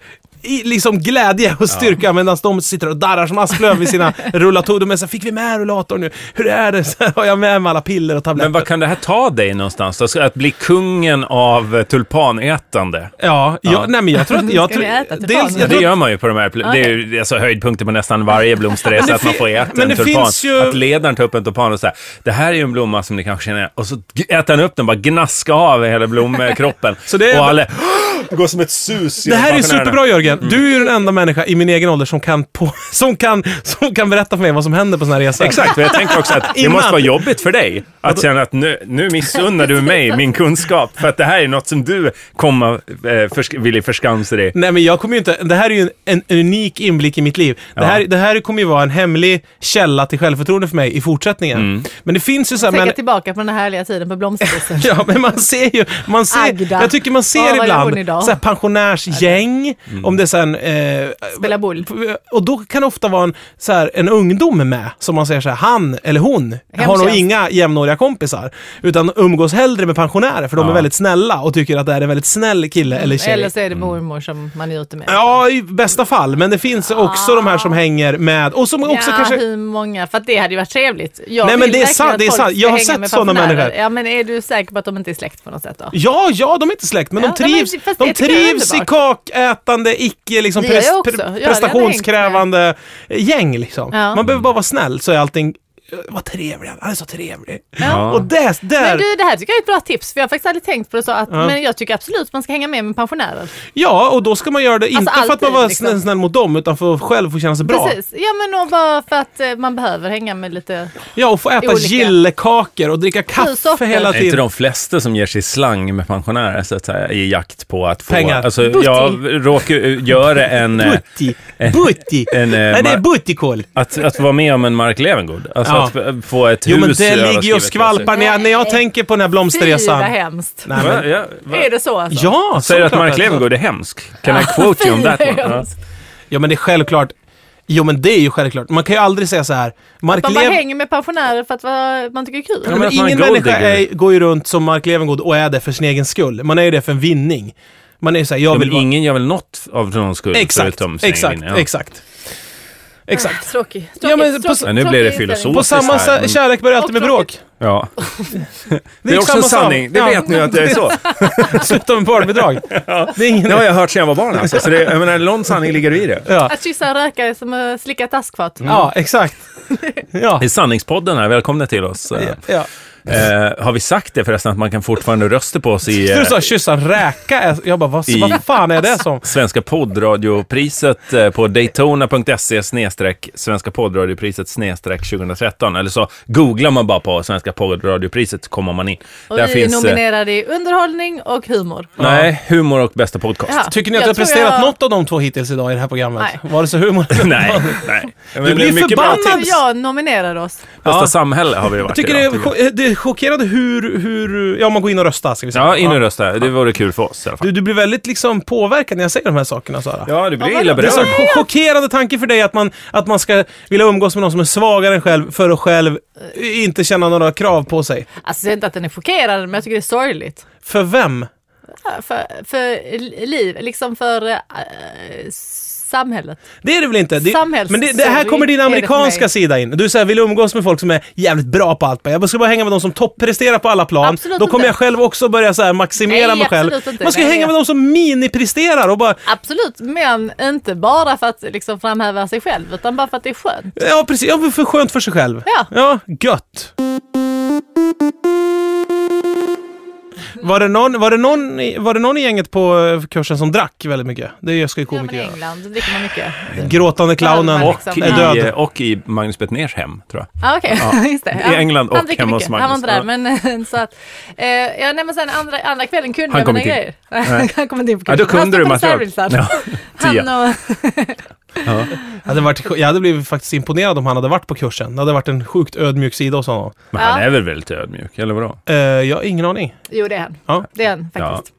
A: i, liksom glädje och styrka medan de sitter och darrar som asplöv i sina rullatorer. De är så här, “Fick vi med rullatorn nu? Hur är det? Så här, har jag med mig alla piller och tabletter?”
B: Men vad kan det här ta dig någonstans? Alltså, att bli kungen av eh, tulpanätande.
A: Ja, jag, Nej, men jag tror att... Jag
C: Ska
A: tror,
C: vi äta tulpan?
A: dels,
B: Ja,
A: jag
B: det
A: tror
B: gör man ju på de här, pl- det är ju alltså, höjdpunkter på nästan varje blomsterresa, att man får äta
A: men
B: en
A: det
B: tulpan.
A: finns ju-
B: Att ledaren tar upp en tulpan och säger, det här är ju en blomma som ni kanske känner igen." Och så g- äter han upp den, bara gnaskar av hela blommekroppen.
A: Så det är-
B: Och alla går som ett sus
A: Det här är superbra Jörgen. Du är ju den enda människa i min egen ålder som kan, på, som kan, som kan berätta för mig vad som händer på såna här resor.
B: Exakt, men jag tänker också att det
A: Innan-
B: måste vara jobbigt för dig att känna att nu, nu missunnar du mig min kunskap, för att det här är något som du kommer eh, försk- vill förskansa dig.
A: Nej men jag kommer ju inte, det här är ju en, en unik inblick i mitt liv. Det, här, det här kommer ju vara en hemlig källa till självförtroende för mig i fortsättningen. Men det finns ju så här,
C: Tänka
A: men,
C: tillbaka på den här härliga tiden på blomsterbussen.
A: Ja, men man ser ju, man ser,
C: Agda.
A: jag tycker man ser
C: Ja, vad gör hon
A: ibland
C: idag?
A: så här pensionärsgäng, om det det sen... Eh,
C: Spela boll.
A: och då kan det ofta vara en, så här, en ungdom med, som man säger så här, han eller hon har nog
C: Hemtjänst.
A: inga jämnåriga kompisar. Utan umgås hellre med pensionärer, för de är väldigt snälla och tycker att det är en väldigt snäll kille eller tjej.
C: Mm, Eller så är det mormor som man är ute med.
A: Ja, i bästa fall. Men det finns också de här som hänger med, och som också
C: ja,
A: kanske...
C: hur många? För att det hade ju varit trevligt. Jag
A: Nej, men
C: vill
A: det är
C: verkligen
A: sant,
C: att
A: det är
C: folk
A: sant.
C: ska
A: Jag har
C: hänga
A: sett
C: med
A: sådana
C: pensionärer.
A: människor.
C: Ja, men är du säker på att de inte är släkt på något sätt då?
A: Ja, ja, de är inte släkt, men
C: Ja,
A: de
C: nej, men
A: trivs,
C: fast
A: de
C: jag tycker det är
A: trivs i
C: underbart.
A: kakätande, icke liksom
C: Det gör jag
A: pres-
C: också.
A: pre-
C: Jag hade
A: prestationskrävande gäng. Liksom.
C: Ja.
A: Man behöver bara vara snäll så är allting "Eh, vad trevlig han är, han är så trevlig.
B: Ja.
A: Och där, där
C: Men du, det här tycker jag är ett bra tips, för jag har faktiskt aldrig tänkt på det så. Att,
A: Ja.
C: Men jag tycker absolut man ska hänga med med pensionärer.
A: ja, och då ska man göra det inte för att man
C: alltid,
A: var
C: liksom.
A: snäll, snäll mot dem, utan för att själv få känna sig bra.
C: Precis. Ja, men och bara för att eh, man behöver hänga med lite...
A: Ja, och få äta
C: Olika.
A: gillekakor och dricka kaffe
C: sorter.
A: hela
B: Är inte
A: tiden.
B: de flesta som ger sig i slang med pensionärer så att säga, i jakt på att få...
A: Pengar.
B: Alltså,
C: Butti.
B: jag råkar göra en... eh,
A: Butti, butti.
B: en, eh,
A: Nej, det är
B: ma-
A: buttikål.
B: att, att vara med om en Mark Levengood. Alltså
A: Ja.
B: att f- få ett
A: Jo,
B: hus
A: men det ligger ju och
B: överskrivet
A: skvalpar när jag, när jag
C: Nej.
A: tänker på den här
C: Fy, vad
A: blomsterresan.
C: hemskt.
A: Nej, men,
B: Va? Ja, va?
C: Är det så alltså?
A: ja,
B: Säger du att
A: såklart
B: Mark
A: alltså.
B: Levengood är hemsk? Can I quote you on that one?
C: Fy, vad
B: Ja.
C: hemskt.
A: Ja men det är självklart. Jo men det är ju självklart. Man kan ju aldrig säga så här. Mark
C: Man bara
A: Leven...
C: hänger med pensionärer för att va- man tycker det är kul.
A: Ja,
B: Men
A: men
B: att man är
A: ingen
B: gold
A: människa
B: digger.
A: är, går ju runt som Mark Levengood och är det för sin egen skull. Man är ju det för en vinning. Man är ju såhär, jag
B: Ja,
A: vill
B: men
A: vara...
B: ingen gör väl något av någon skull
A: Exakt,
B: förutom sin
A: exakt,
B: egen, ja.
A: exakt. Exakt.
C: Tråkig. Tråkig.
A: Ja, men på-
C: tråkig.
B: Ja, nu blir det
C: tråkig inställning.
B: filosofiskt
A: På samma
B: här, men-
A: sätt, kärlek börjar alltid med
C: Och
A: bråk.
B: Ja. Mm. Det är
A: gick
B: också
A: samma
B: en sanning. Det
A: sak.
B: vet ni ju att jag är så.
A: Sluta med barnbidrag. Det är ingen...
B: Det har jag hört sedan jag var barn alltså. Så det, jag menar, någon sanning ligger i det.
A: Ja.
C: Att kyssa en rökare är som att slicka ett askfat.
B: Mm.
A: ja, exakt. Ja.
B: Det är Sanningspodden här, välkomna till oss. Eh,
A: ja.
B: Eh, har vi sagt det förresten att man kan fortfarande rösta på oss i
A: För
B: eh,
A: du sa kyssa en räka. Jag bara, vad,
B: I-
A: vad fan är det som?
B: Svenska poddradiopriset eh, på daytona.se snedstreck Svenska poddradiopriset snedstreck 2013. Eller så googlar man bara på Svenska poddradiopriset så kommer man in.
C: Och vi är nominerade i underhållning och humor.
B: eh, nej, humor och bästa podcast.
C: Ja,
A: Tycker ni att
C: jag
A: jag har
C: tror
A: presterat
C: jag-
A: något av de två hittills idag i det här programmet?
C: Nej.
A: Var det så humor?
B: nej, nej. Men
A: Du
B: det är
A: blir
B: mycket bra
A: förbannad.
B: tips.
C: Du och jag nominerar oss.
B: Bästa
A: Ja.
B: samhälle har vi varit
A: Jag tycker det
B: idag,
A: är,
B: tycker jag.
A: cho- det är chockerande hur, hur... Ja, man går in och röstar ska vi säga.
B: Ja, in och rösta. Det vore kul för oss i alla fall.
A: Du, du blir väldigt liksom påverkad när jag säger de här sakerna, Sara.
B: Ja, du blir
C: Ja,
B: illa
A: Det är så
B: berörd.
A: cho- chockerande tanke för dig att man, att man ska vilja umgås med någon som är svagare än själv för att själv inte känna några krav på sig.
C: Alltså, det är inte att den är chockerad, men jag tycker det är sorgligt.
A: För vem?
C: Ja, För, för liv, liksom för eh, samhället.
A: Det är det väl inte? Det,
C: Samhälls-
A: men det, det här
C: sorry,
A: kommer din
C: är det för
A: amerikanska
C: mig.
A: sida in. Du säger vill umgås med folk som är jävligt bra på allt. Jag ska bara hänga med de som toppresterar på alla plan.
C: Absolut
A: Då kommer
C: inte.
A: jag själv också börja så här maximera
C: Nej,
A: mig själv.
C: absolut inte.
A: Man ska ju
C: Nej,
A: hänga
C: jag-
A: med de som minipresterar och bara
C: Absolut, men inte bara för att liksom framhäva sig själv, utan bara för att det är skönt.
A: Ja, precis. Ja, för skönt för sig själv.
C: Ja.
A: Ja, gött. Var det, någon, var, det någon, i- var det någon i gänget på eh, kursen som drack väldigt mycket? Det ska ju
C: Ja, men I
A: komiker göra.
C: England då dricker man mycket.
A: Gråtande clownen.
C: Ja,
B: Och
C: Liksom.
A: Är död.
B: i, och i Magnus Bettners hem, tror jag.
C: Ah, okej, just det.
B: I England och
C: han dricker
B: hemma hos
C: mycket. Han var inte där,
B: Magnus.
C: men så att... Eh, ja, nej, men sen andra, andra kvällen kunde
B: Han
C: jag
B: kom
C: mina
B: inte in.
C: grejer. han kom inte in på
B: Ja, då
C: kursen. Han
B: kunde
C: stod
B: du
C: på
B: material.
C: reservlistan.
B: tia.
C: Han och...
A: Jag hade varit, jag hade blivit faktiskt imponerad om han hade varit på kursen. Det hade varit en sjukt ödmjuk sida hos honom.
B: Men han
C: Ja.
B: är väl väldigt ödmjuk, eller vadå?
A: Uh, jag har ingen aning.
C: Jo, det är han.
A: Ja.
C: Det är han
B: Ja,
C: faktiskt.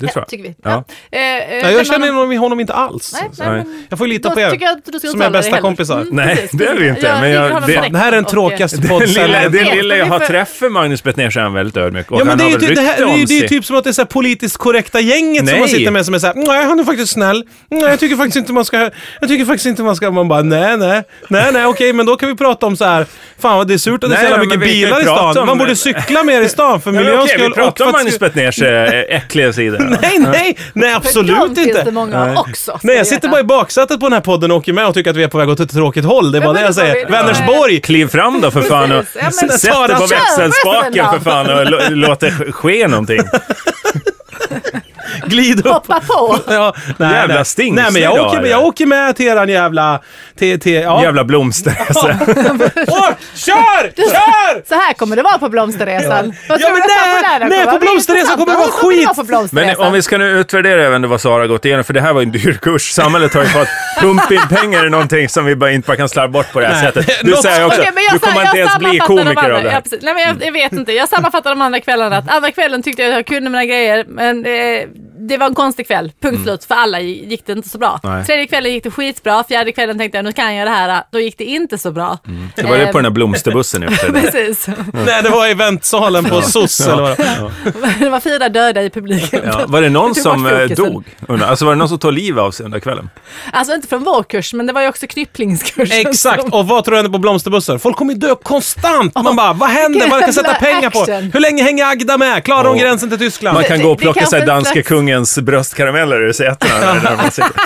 B: det tror
C: Ja,
B: jag.
C: tycker vi.
B: Ja.
C: Ja. Eh, eh,
A: Nej,
C: men
A: jag känner
C: man-
A: honom, honom inte alls.
C: Nej, nej,
B: Nej.
C: men
A: Jag får ju lita
C: då
A: på er.
C: tycker jag att du ska
A: Som är
C: uttala dig
A: bästa
C: heller.
A: kompisar.
B: Nej, det är vi inte, men jag-
C: ligger honom
B: det-
C: direkt
A: Det här är den
C: och- eh,
A: tråkigaste
B: Den lilla,
A: podden.
B: den
C: vet,
B: lilla
C: men
B: jag
C: vi
B: har
C: får-
B: träffat Magnus Bettner så är han väldigt ödmjuk. Och
A: Ja, men
B: han
A: det är
B: har
A: ju
B: väl
A: ty- det, här,
B: rykte
A: det, är ju,
B: om
A: det är ju
B: sig.
A: typ som att det är så här politiskt korrekta gänget som man
B: Nej.
A: sitter med som är såhär, nej han är faktiskt snäll, nej jag tycker faktiskt inte man ska, jag tycker faktiskt inte man ska, man bara nej nej, nej nej okej men då kan vi prata om så här. fan vad det är surt att det är så
B: Nej,
A: jävla
B: men
A: mycket
B: vi kan ju
A: bilar i
B: prata
A: stan,
B: om-
A: man borde cykla mer i stan för
B: Ja, men
A: miljöns
B: okej,
A: skull
B: vi pratar om
A: för att
B: Magnus
A: sku-
B: Bettners eh, äckliga sida. då.
A: Nej nej, nej
C: Dem
A: absolut
C: finns det
A: inte.
C: många av också. ska
A: Nej jag
C: vi
A: sitter
C: veta.
A: bara i baksätet på den här podden och åker med och tycker att vi är på väg åt ett tråkigt håll, det är
C: Ja,
A: bara det
C: men
A: jag
C: det får
A: säger.
C: vi-
A: Vänersborg!
B: Kliv fram då för fan och
C: Precis, ja, men-
B: sätt dig på
A: Kör
B: växelspaken för
C: växeln då.
B: fan och lo- låt det sk- ske någonting.
A: Glid upp!
C: Hoppa på!
A: Ja, nej,
B: Jävla
A: nej.
B: stings
A: Nej men jag
B: idag,
A: åker, med,
B: eller?
A: jag åker med till eran jävla... Till, till, ja.
B: Jävla blomster. alltså.
A: Åh, kör! Kör!
C: Så här kommer det vara på blomsterresan. Vad
A: Ja,
C: tror
A: men
C: du att
A: nej,
C: pensionärerna
A: nej,
C: kommer
A: på
C: vara? Det är
A: blomsterresan
C: intressant.
A: kommer det vara
C: Vad tror du
A: skit.
C: att det var på
B: Men
C: blomsterresan?
B: om vi ska nu utvärdera även vad Sara har gått igenom, för det här var ju en dyr kurs. Samhället har ju fått pump in pengar i någonting som vi bara inte bara kan slarva bort på det här
A: Nej.
B: sättet. Du säger också,
C: Okej, men jag
B: du
C: sa-
B: kommer
C: jag
B: inte ens bli
C: sammanfattar de
B: komiker
C: andra.
B: av det
C: Ja,
B: här.
C: precis. Nej, men jag, jag vet inte. Jag sammanfattar de andra kvällarna. Att andra kvällen tyckte jag att jag kunde mina grejer, men eh, det var en konstig kväll, punkt slut. För alla gick det inte så bra.
B: Mm. Nej.
C: Tredje kvällen gick det skitbra, fjärde kvällen tänkte jag nu kan jag det här. Då gick det inte så bra.
B: Mm. Det var det
C: Eh,
B: på den där blomsterbussen jag uppträdde.
C: Precis.
A: Nej, det var eventsalen på SOS eller vad det var.
C: Det var fyra döda i publiken.
B: Ja. Var det någon
C: tog
B: som
C: bort
B: eh,
C: fokusen.
B: dog? Undrar. Alltså var det någon som tog liv av sig under kvällen?
C: Alltså inte från vår kurs, men det var ju också krypplingskursen.
A: Exakt,
C: som-
A: och vad tror du händer på blomsterbussen? Folk kommer ju dö konstant! Man bara, vad händer? Vad kan jag sätta
C: Jävla
A: pengar på?
C: action.
A: Hur länge hänger Agda med? Klarar hon
B: Ja.
A: gränsen till Tyskland?
B: Man kan gå och
C: det- det
B: plocka
C: kanske
B: sig
C: är en
B: danske
C: slags-
B: kungens bröstkarameller ur sätena. där man sitter.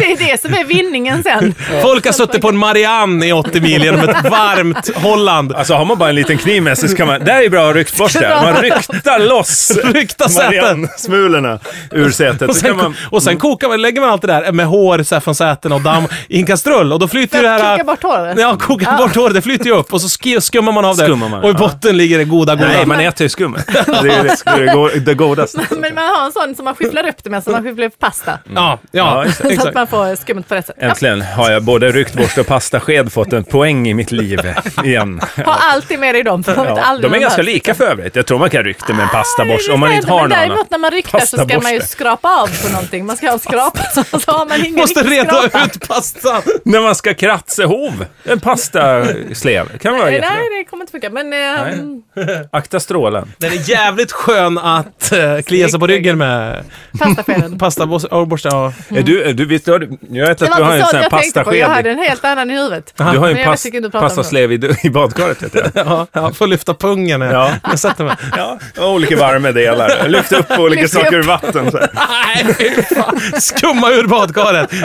C: Det är det som är vinningen sen.
A: Folk har suttit på en Marianne i 80 mil genom ett varmt Holland.
B: Alltså har man bara en liten kniv med sig så kan man... Där är bra ryktborste. Man ryktar loss
A: Rykta säten!
B: Marianne-smulorna ur sätet.
A: Och
B: Så kan
A: sen,
B: man... Mm.
A: och sen kokar man, lägger man allt det där med hår så här, från sätena och damm i en kastrull och då flyter ju det här...
C: Koka bort håret.
A: Ja, koka bort håret. Det flyter ju upp och så sk- skummar man av det.
B: Skummar man,
A: och i
B: ja.
A: botten ligger det goda, goda.
B: Nej, man äter ju skummet. Det är det, det, är det, go- det godaste.
C: Men man har en sån som man skyfflar upp det med, som man skyfflar upp pasta.
A: Ja, ja,
B: Ja, just
C: Så att
A: exakt.
C: man får skummet på rätt sätt. Ja.
B: Äntligen har jag både ryktborste och pastasked fått en poäng i mitt liv igen.
C: Ha alltid med dig dem. För man vet
B: Ja,
C: aldrig
B: de är
C: när
B: ganska
C: behövs.
B: lika för övrigt. Jag tror man kan rykta med en pastaborste om man inte har
C: Men
B: någon annan.
C: Däremot när man ryktar så ska man ju
B: Pastaborste.
C: skrapa av på någonting. Man ska ha en skrapa. Så har man ingen
A: Måste
C: riktig
A: reda
C: skrapa.
A: ut pastan.
B: När man ska kratsa hov. En pastaslev. Kan vara
C: Nej,
B: jättebra.
C: nej, det kommer inte funka. Men eh,
B: Akta strålen.
A: Den är jävligt skön att eh, klia sig på ryggen med.
C: pastaskeden.
A: Pastaborste, oh, borste, ja.
B: Är Du, du, visst, har du, jag vet
C: Det
B: att du
C: var
B: har en sån
C: inte sån
B: här
C: jag tänkte på. Jag hade
B: pastasked. i-
C: en helt annan i huvudet.
B: Du har ju
C: Men
B: en
C: jag
B: pas,
C: vet inte hur du pratar om det.
B: pastaslev i, i badkaret. Vet jag.
A: Ja, ja, får lyfta pungen när
B: Ja.
A: jag- jag sätter mig.
B: Ja, och olika varma delar. Lyft upp olika
C: Lyft
B: saker
C: upp.
B: ur vatten. Så här.
A: Nej, fy fan. Skumma ur badkaret.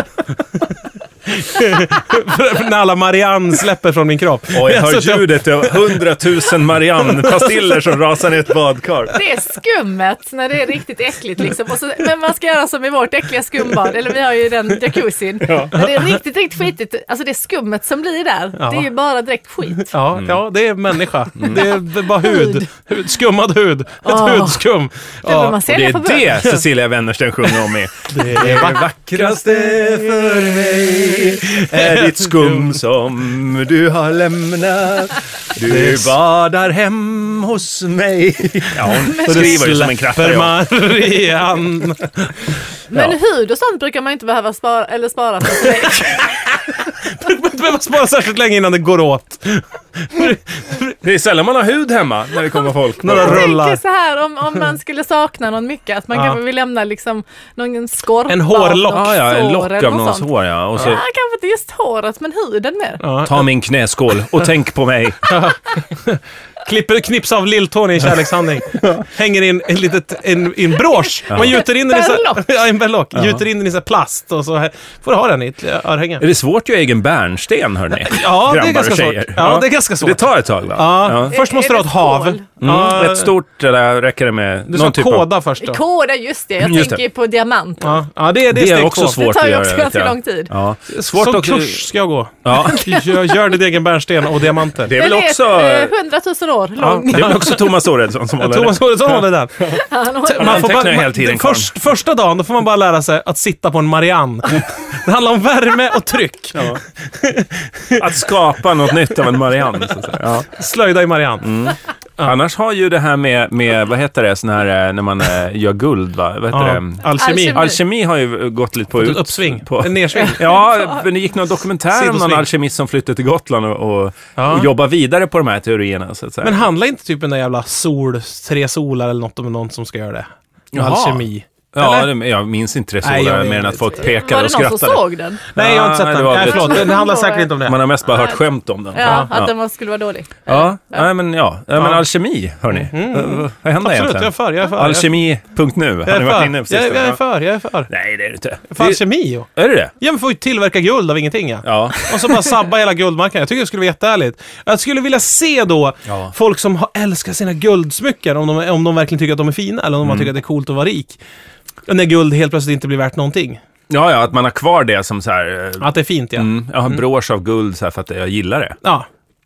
A: För- för när alla Marianne släpper från min kropp.
B: Och jag
A: har
B: hör
A: suttit och-
B: ljudet av hundratusen Marianne-pastiller som rasar ner i ett badkar.
C: Det är skummet när det är riktigt äckligt liksom. Och så, men man ska göra som i vårt äckliga skumbad, eller vi har ju den jacuzzin. När det är riktigt, riktigt skitigt, alltså det skummet som blir där,
A: Ja.
C: det är ju bara direkt skit.
A: Ja, ja, det är människa. Det är b- bara hud. hud. Skummad hud. Ett
C: Åh.
A: hudskum.
C: Ah. Det behöver man
A: Ja.
B: Det
C: sälja på
B: är
C: burk.
B: det Cecilia Wennersten sjunger om i.
A: Det är
B: Vackraste för mig är ditt skum som du har lämnat. Du badar hem hos mig. Ja, hon skriver ju som en krattare.
A: För
B: ja.
A: Marianne.
C: Men hud och sånt brukar man inte behöva spara, eller spara på. Så det-
A: Man behöver spara särskilt länge innan det går åt.
B: Det är sällan man har hud hemma när det kommer folk.
A: Några
B: på-
A: rö-
C: Jag
A: Rullar.
C: tänker så här om, om man skulle sakna någon mycket, att man
A: Ja.
C: kanske vill lämna liksom någon skorpa.
A: En hårlock.
C: och
B: Ja, ja, en
C: sår
B: lock
C: eller
B: av
C: något
B: någons
C: sånt.
B: hår typ. ja. Och
C: Ja,
B: så,
C: kanske inte just håret, men huden mer.
A: Ja.
B: ta min knäskål och tänk på mig.
A: Klipper, knips av lilltån i en kärlekshandling. Hänger in en, litet, en, en brosch. Man gjuter in den i så,
C: Berlock.
A: ja, en berlock. Gjuter in den i så här plast och så här- får du ha den i ett örhänge.
B: Är det svårt att göra egen bärnsten hörni?
A: Ja, det
B: Grabbar
A: är
B: och
A: ganska svårt.
B: tjejer.
A: Ja, det är ganska svårt.
B: Det tar ett tag va?
A: ja.
B: Ja. Mm,
A: Först
C: Är-
A: måste
C: är
A: du ha
C: det
A: ett havel.
C: tvål?
A: Ja,
B: Ett stort, eller räcker det med
A: Du
B: någon
A: ska
B: typ av...
A: koda först då.
C: Koda, just det. Jag
B: Just
C: tänker ju på diamanter.
A: Ja, ja det, är- det är
B: Det är
A: steg
B: också
A: två.
B: svårt
C: Det tar
B: att
C: ju
B: göra.
C: också
B: vet
C: ganska
B: jag.
C: lång tid.
B: Ja.
A: Svårt Som
B: att-
A: kurs ska jag gå.
B: Ja.
A: Gör, gör din egen bärnsten och diamanter.
B: Det är väl
C: Den
B: också...
C: är eh, 100 000 år
B: Ja,
C: lång.
B: det är väl också Thomas Oredsson som håller
A: Thomas
B: det.
A: Oredsson håller den.
C: Han har-
B: Man får tecknar ju hela tiden, Karl.
A: först, första dagen då får man bara lära sig att sitta på en Marianne. Det handlar om värme och tryck.
B: Att skapa något nytt av en Marianne. Så att säga. Ja.
A: Slöjda i Marianne.
B: Mm, Annars har ju det här med, med vad heter det, sån här, eh, när man eh, gör guld, va? Vad heter
A: Ja.
B: det?
A: Alkemi.
C: Alkemi.
B: Alkemi har ju gått lite på ut...
A: Ett uppsving.
B: På,
A: En nedsving.
B: ja, men det gick någon dokumentär om någon
A: Sidosving.
B: alkemist som flyttade till Gotland och, och,
A: Ja.
B: och jobbade vidare på de här teorierna. Så att säga.
A: Men handlar inte typ den där jävla sol, tre solar eller något om någon som ska göra det? Med
B: Jaha.
A: Alkemi.
B: ja,
A: eller?
B: det, jag minns inte det så,
A: Nej, jag
B: där,
A: vet
B: mer än att
A: inte.
B: folk pekade
C: Var
B: och
C: det någon som
B: skrattade.
C: såg den?
A: Nej, jag har inte sett
B: Ah, Nej, det
A: den.
B: var
A: Nej,
B: lite-
A: förlåt. Det handlar säkert inte om
B: Man
A: det.
B: har mest bara hört skämt om den.
C: Ja, att den var, skulle vara dålig.
B: Ja, nej, men ja. ja, men alkemi, hörni. Eh, Vad händer
A: Mm. Absolut, jag är
B: egentligen?
A: för. Jag är för. Jag är för.
B: Alkemi.nu
A: Jag
B: har ni
A: är
B: varit
A: för.
B: inne
A: Jag,
B: på sistone?
A: jag är
B: va?
A: för. Jag är för.
B: Nej, det är det inte.
A: För alkemi ju.
B: Det, är det det
A: Ja, men får ju tillverka guld av ingenting ja.
B: Ja.
A: Och så bara sabba hela guldmarknaden. Jag tycker det skulle vara jättehärligt. Jag skulle vilja se då
B: Ja.
A: folk som har älskar sina guldsmycken, om de, om de verkligen tycker att de är fina eller om de
B: Mm.
A: bara tycker att det är coolt att vara rik. Och När guld helt plötsligt inte blir värt någonting.
B: Ja, ja, att man har kvar det som så här... eh,
A: Att det är fint ja.
B: Mm, jag har en brosch av guld så här för att jag gillar det.
A: Ja,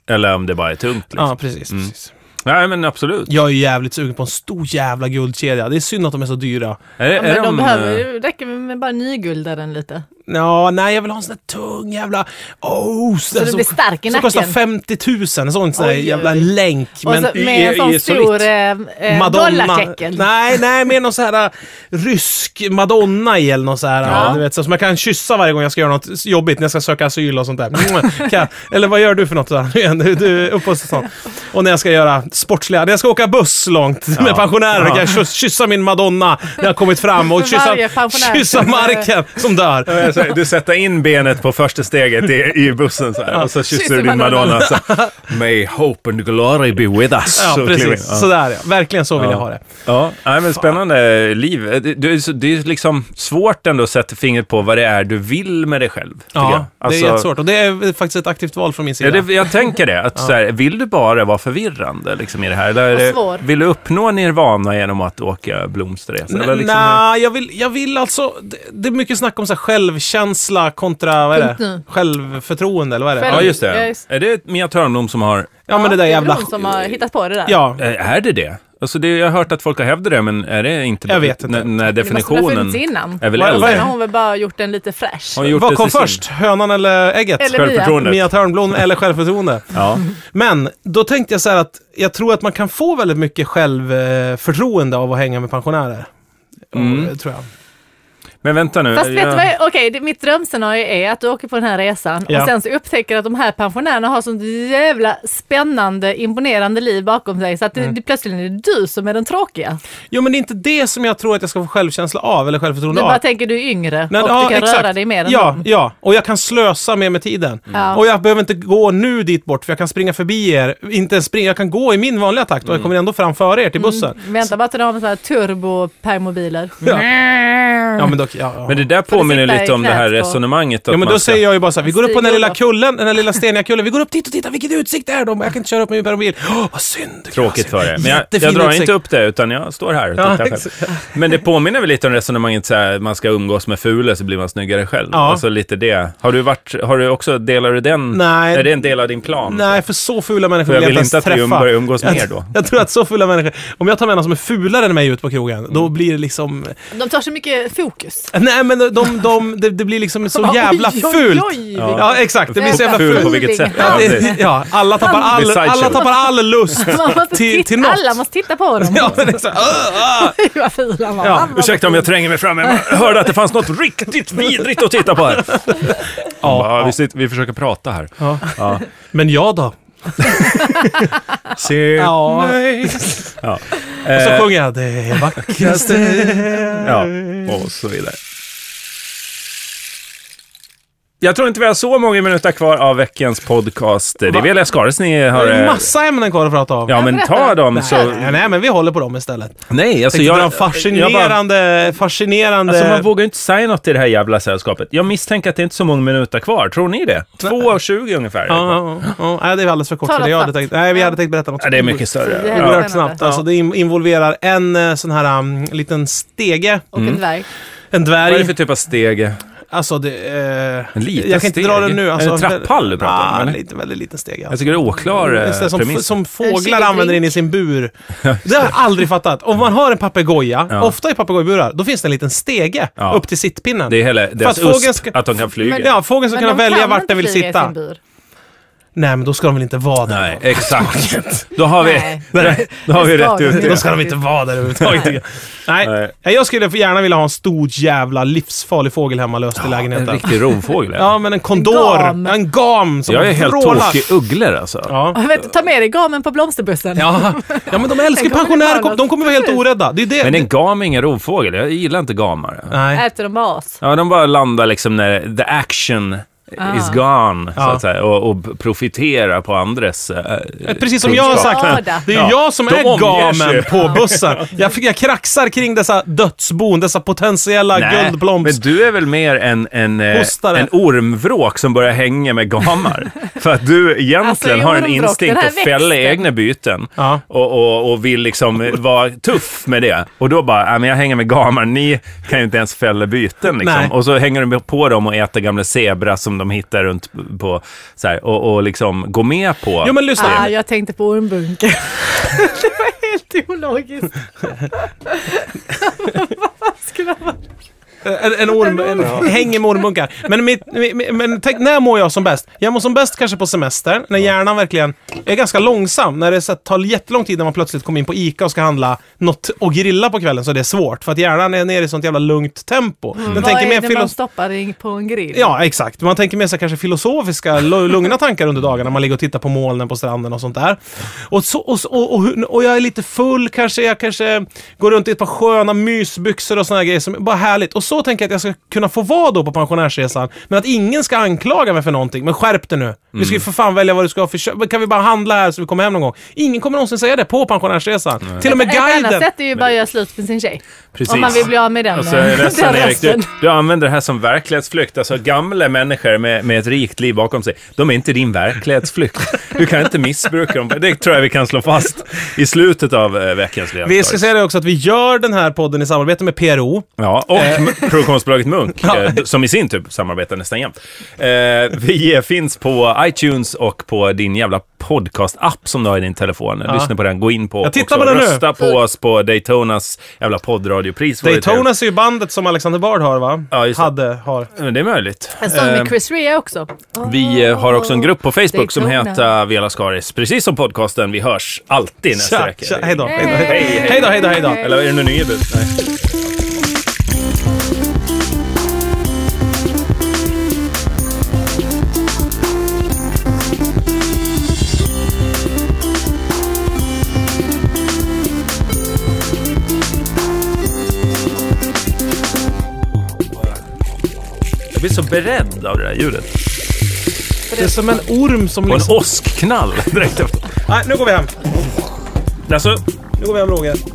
B: Eller om det bara är tungt. Liksom.
A: ja precis, precis.
B: Nej, men absolut.
A: Jag är ju jävligt sugen på en stor jävla guldkedja. Det är synd att de är så dyra.
B: Är, det- är
C: Ja, men de
B: de,
C: behöver,
B: eh,
C: det räcker med bara nygulda den lite.
A: Ja, nej, jag vill ha en sån där tung jävla... Oh, så
C: du blir stark i
A: Som kostar
C: nacken.
A: 50 000. En sån, sån där
C: Oj,
A: jävla
C: oj.
A: länk.
C: Och så, med en
B: i-
C: sån
B: i
C: stor
B: solitt.
C: eh, eh, dollartecken.
A: Nej, nej, mer någon så här äh, rysk Madonna i eller någon så här,
B: Ja.
A: äh, du vet, så, som jag kan kyssa varje gång jag ska göra något jobbigt, när jag ska söka asyl och sånt där. Mm, Kan jag- eller vad gör du för något? Då? Nu igen, Du, du, uppehållstillstånd. Och när jag ska göra sportsliga, när jag ska åka buss långt med pensionärer, kan jag kyss, kyssa min Madonna när jag kommit fram och kyssa,
C: Varje pensionär
A: kyssa
C: som-
A: marken som dör.
B: Alltså, du sätter in benet på första steget i, i bussen så här, och så kysser du din Madonna. Så, May hope and glory be with us.
A: Ja,
B: Så kliver-
A: precis.
B: ja.
A: Sådär ja. Verkligen så vill jag ha det.
B: Ja, nej, men spännande liv. Eh, Det, det är så- det är liksom svårt ändå att sätta fingret på vad det är du vill med dig själv. tycker jag.
A: Ja, det
B: Alltså,
A: är jättesvårt. Och det är faktiskt ett aktivt val från min
B: Ja,
A: sida.
B: det, jag tänker det. Att, så här, vill du bara vara förvirrande liksom, i det här? Eller är
C: Och
B: det-
C: svår.
B: vill du uppnå nirvana genom att åka blomsterresa? Eller
A: Nej,
B: liksom,
A: jag, vill, jag vill alltså... Det, det är mycket snack om så här självkänsla kontra vad är
C: Punkt
A: det?
C: nu.
A: självförtroende, eller vad är det?
C: Själv-
B: ja, just
C: Ja,
B: det.
C: just-
B: Är det Mia Törnblom som har...
A: Ja, men det där
C: är väl
A: jävla...
C: hon som har hittat på det där.
A: Ja,
B: eh, Är det det? Alltså det, jag har hört att folk har hävdat det, men är det inte
A: Jag vet inte.
B: n- när
C: Det måste väl ha
B: definitionen
C: funnits innan.
B: är
A: Vad-
B: väl
A: vad
B: äldre?
A: är-
C: Sen har hon väl bara gjort den lite fräsch.
B: Har hon gjort
A: vad
B: det
A: kom
B: till sin-
A: först? Hönan eller ägget?
C: Eller
B: Självförtroendet.
A: Mia Törnblom eller självförtroende?
B: Ja.
A: Men då tänkte jag så här att jag tror att man kan få väldigt mycket självförtroende av att hänga med pensionärer.
B: Mm.
A: Tror jag.
B: Men vänta nu.
C: Fast vet
B: jag-
C: du vad, jag- okej, det- mitt drömscenario är att du åker på den här resan
A: Ja.
C: och sen så upptäcker att de här pensionärerna har sånt jävla spännande, imponerande liv bakom sig så att det,
A: Mm.
C: det plötsligt är det du som är den tråkiga.
A: Jo, men det är inte det som jag tror att jag ska få självkänsla av, eller självförtroende
C: Du
A: av.
C: bara tänker du är yngre
A: Nej,
C: och
A: ja,
C: du kan
A: exakt.
C: röra dig mer än
A: Ja,
C: dem. Mm.
A: ja, och jag kan slösa mer med tiden.
C: Ja.
A: Och jag behöver inte gå nu dit bort, för jag kan springa förbi er. Inte ens springa, jag kan gå i min vanliga takt och
B: Mm.
A: jag kommer ändå fram före er till bussen.
C: Vänta bara till de har så här Mm. turbo-permobiler.
A: Ja. ja, men då, ja, ja.
B: Men det där
C: du
B: påminner
C: sitta i
B: lite om det här
C: knät på-
B: resonemanget. Att
A: Ja men
B: man
A: då
B: ska-
A: säger jag ju bara så här, vi går upp på den här
C: Stig
A: lilla
C: Olof.
A: kullen, den här lilla steniga kullen, vi går upp dit och tittar, vilken utsikt det är då! Men Jag kan inte köra upp med min permobil. Åh, vad synd! det kan jag
B: Tråkigt
A: se.
B: för er. Men jag,
A: Jättefin
B: jag drar
A: utsikt.
B: inte upp det, utan jag står här och
A: Ja,
B: tittar själv. Men det påminner väl lite om resonemanget så här, man ska umgås med fula så blir man snyggare själv.
A: Ja.
B: Alltså lite det. Har du varit, har du också, delar du den?
A: Nej.
B: Är det en del av din plan?
A: Nej, för så fula människor
B: För jag vill
A: ens
B: inte att vi um-
A: träffa.
B: börjar umgås
A: jag,
B: mer då.
A: Jag tror att så fula människor, om jag tar med någon som är fulare än mig ut på krogen,
B: Mm.
A: då blir det liksom...
C: De tar så mycket fokus.
A: Nej men de, de, de, det, det blir liksom så
C: Bara,
A: jävla
C: oj, oj,
A: fult.
C: oj.
A: Ja. exakt, det blir så jävla
C: Ful
B: ful
A: fult.
B: på vilket sätt?
A: Ja,
B: Ja, precis.
A: det, ja, alla, tappar all,
B: Besides
A: alla
B: you.
A: tappar all lust
C: Man måste
A: till,
C: titta,
A: till något.
C: Alla måste titta på dem.
A: Ja, men det är så, här, "Åh, åh."
C: Fy vad ful han var.
A: Ja,
C: Han var
B: Ursäkta om jag tränger mig fram, men jag hörde att det fanns något riktigt vidrigt att titta på här.
A: ja,
B: vi, sitter, vi försöker prata här.
A: ja.
B: Ja.
A: Men jag då?
B: Se
A: Ja.
B: mig. Ja.
A: Och så
B: Eh,
A: sjunger jag det vackraste.
B: Ja,
A: Eh.
B: och så vidare. Jag tror inte vi har så många minuter kvar av veckans podcast. Det är
A: Va?
B: väl Skaris ni
A: Det
B: har...
A: är
B: eh,
A: massa ämnen kvar att prata om.
B: Ja, men ta dem så...
A: Nej, nej, men vi håller på dem istället.
B: Nej, alltså
A: Tänkte dra en
B: jag... jag bara-
A: fascinerande, fascinerande...
B: Alltså man vågar ju inte säga något i det här jävla sällskapet. Jag misstänker att det är inte så många minuter kvar. Tror ni det? 2.20 ungefär.
A: ja, ja, ja, ja. Nej, det är alldeles för kort.
C: Ta
A: för det.
C: något
A: Jag hade
C: snabbt.
A: tänkt, nej, vi hade tänkt berätta något.
B: Ja, det är mycket större.
C: Ja.
B: Ja.
A: Oerhört snabbt. Alltså, det in- involverar en eh, sån här um, liten stege,
C: Och en dvärg.
A: en
B: Vad är det
A: dvärg.
B: för typ av steg?
A: Alltså det... Eh,
B: En liten
A: jag kan inte
B: steg?
A: dra den nu. Alltså,
B: Är det en trapphall du pratar om,
A: om?
B: eller?
A: Nej, en väldigt liten steg.
B: Jag
A: Alltså.
B: tycker det är oklar
A: Det är
B: eh,
A: sådär som,
B: premiss.
A: som fåglar
C: kycklingdrink.
A: använder in i sin bur. Det har jag aldrig fattat. Om man har en papegoja,
B: Ja.
A: ofta i papegojburar, då finns det en liten stege
B: Ja.
A: upp till sittpinnen.
B: Det är hela deras
A: fågeln
B: USP,
A: ska-
B: att de kan flyga.
C: Men-
A: Ja, fågeln ska
C: Men
A: kunna
C: de
A: välja
C: kan
A: vart
C: inte
A: den vill
C: flyga i
A: sitta.
C: sin bur.
A: Nej, men då ska de väl inte vara där.
B: Nej, exakt. Då har vi,
C: Nej.
B: då har vi
C: Det ska
B: rätt
C: vi
B: ut
C: inte.
B: det.
A: Då ska de inte vara där överhuvudtaget. tycker jag. Nej.
B: Nej.
A: Nej, jag skulle gärna vilja ha en stor jävla livsfarlig fågel hemma löst i
B: En
A: lägenheten.
B: riktig rovfågel.
A: Ja, men en kondor.
C: gam.
A: En gam som
B: jag är helt
A: vrålar.
B: tokig ugglor alltså.
A: Ja.
C: Och Vet, du, ta med dig gamen på blomsterbussen.
A: Ja. ja, men de älskar
C: Den kommer
A: pensionärer.
C: inte vara
A: kom- De kommer vara helt orädda. Det är det.
B: Men en gam är ingen rovfågel. Jag gillar inte gamare.
A: Nej.
C: Äter de bara as?
B: Ja, de bara landar liksom när the action is gone, så
A: Ja.
B: att säga, och, och profiterar på andres eh,
A: Precis som jag har
B: kunskap.
A: sagt.
C: Skada.
A: Det är ju
B: Ja.
A: jag som
B: De
A: är
B: omger sig.
A: gamen på bussen. Jag, fick- jag kraxar kring dessa dödsbon, dessa potentiella
B: Nej, men
A: guldplombs.
B: du är väl mer en, en, eh,
A: Hostare.
B: en ormvråk som börjar hänga med gamar. för att du egentligen
C: Alltså, jag är
B: har en
C: ormvråk, den
B: instinkt
C: här
B: att fälla
C: växten.
B: egna byten
A: Ja.
B: och, och, och vill liksom eh, vara tuff med det. Och då bara, "Nej, men jag hänger med gamar, ni kan ju inte ens fälla byten.
A: Nej.
B: Liksom. Och så hänger du på dem och äter gamla zebra som de hittar runt på, så här, och, och liksom går med på.
A: Jo, men lyssna.
C: Ah, jag tänkte på ormbunke. det var helt ologiskt. Vad skulle det vara?
A: En, en orm, en, hänger med ormbunkar. Men, mitt, mi- mi- men tänk, när mår jag som bäst? Jag mår som bäst kanske på semestern, när hjärnan verkligen är ganska långsam. När det så här, tar jättelång tid när man plötsligt kommer in på ICA och ska handla något och grilla på kvällen så det är svårt. För att hjärnan är nere i sånt jävla lugnt tempo. Den
C: Mm. Vad
A: tänker
C: är
A: mer
C: det man
A: filos-
C: stoppar i- på en grill?
A: Ja, exakt. Man tänker mer så här kanske filosofiska, lu- lugna tankar under dagarna. Man ligger och tittar på molnen på stranden och sånt där. Och, så, och, så- och, och, hur- och jag är lite full kanske. Jag kanske går runt i ett par sköna mysbyxor och såna här grejer som är bara härligt. Och så tänker jag att jag ska kunna få vara då på pensionärsresan. Men att ingen ska anklaga mig för någonting. Men skärp dig nu. Vi ska ju för fan välja vad du ska ha för kö- Men Kan vi bara handla här så vi kommer hem någon gång? Ingen kommer någonsin säga det på pensionärsresan. Till och med
C: Ett annat
A: guiden.
C: sätt är ju bara att göra slut med sin tjej.
B: Precis.
C: Om man vill bli av med den,
B: Alltså, jag är
C: eh, den
B: ledsen Erik, du,
C: resten.
B: du använder det här som verklighetsflykt. Alltså gamla människor med, med ett rikt liv bakom sig, de är inte din verklighetsflykt. Du kan inte missbruka dem. Det tror jag vi kan slå fast i slutet av eh, veckans
A: Vi ska
B: ledare.
A: säga det också att vi gör den här podden i samarbete med PRO.
B: Ja, och
A: Eh.
B: m- produktionsbolaget Munk, eh, d- som i sin tur samarbetar nästan jämt. Eh, vi eh, finns på iTunes och på din jävla podcast-app som du har i din telefon. Lyssna på den, gå in på
A: Jag tittar
B: och
A: på den nu.
B: rösta på oss på Daytonas jävla poddradiopris. Vad heter det?
A: Daytonas är ju bandet som Alexander Bard har va?
B: Ja, just det.
A: Hade, har.
B: Ja, Det är möjligt.
C: En sång
B: Eh,
C: med Chris Rea också.
B: Vi eh, har också en grupp på Facebook som
C: Daytona.
B: heter eh, Vela Skaris, precis som podcasten. Vi hörs alltid nästa
A: Tja,
B: vecka.
A: tja, hej då. Hej då,
B: Hej, hej.
A: hej då, hej då, hej då.
B: Eller är det någon ny bud? Nej. Jag blir så beredd av det där ljudet.
A: Det är som en orm som
B: Och en
A: liksom...
B: åskknall direkt efter.
A: Nej, nu går vi hem.
B: Alltså,
A: Nu går vi hem Roger.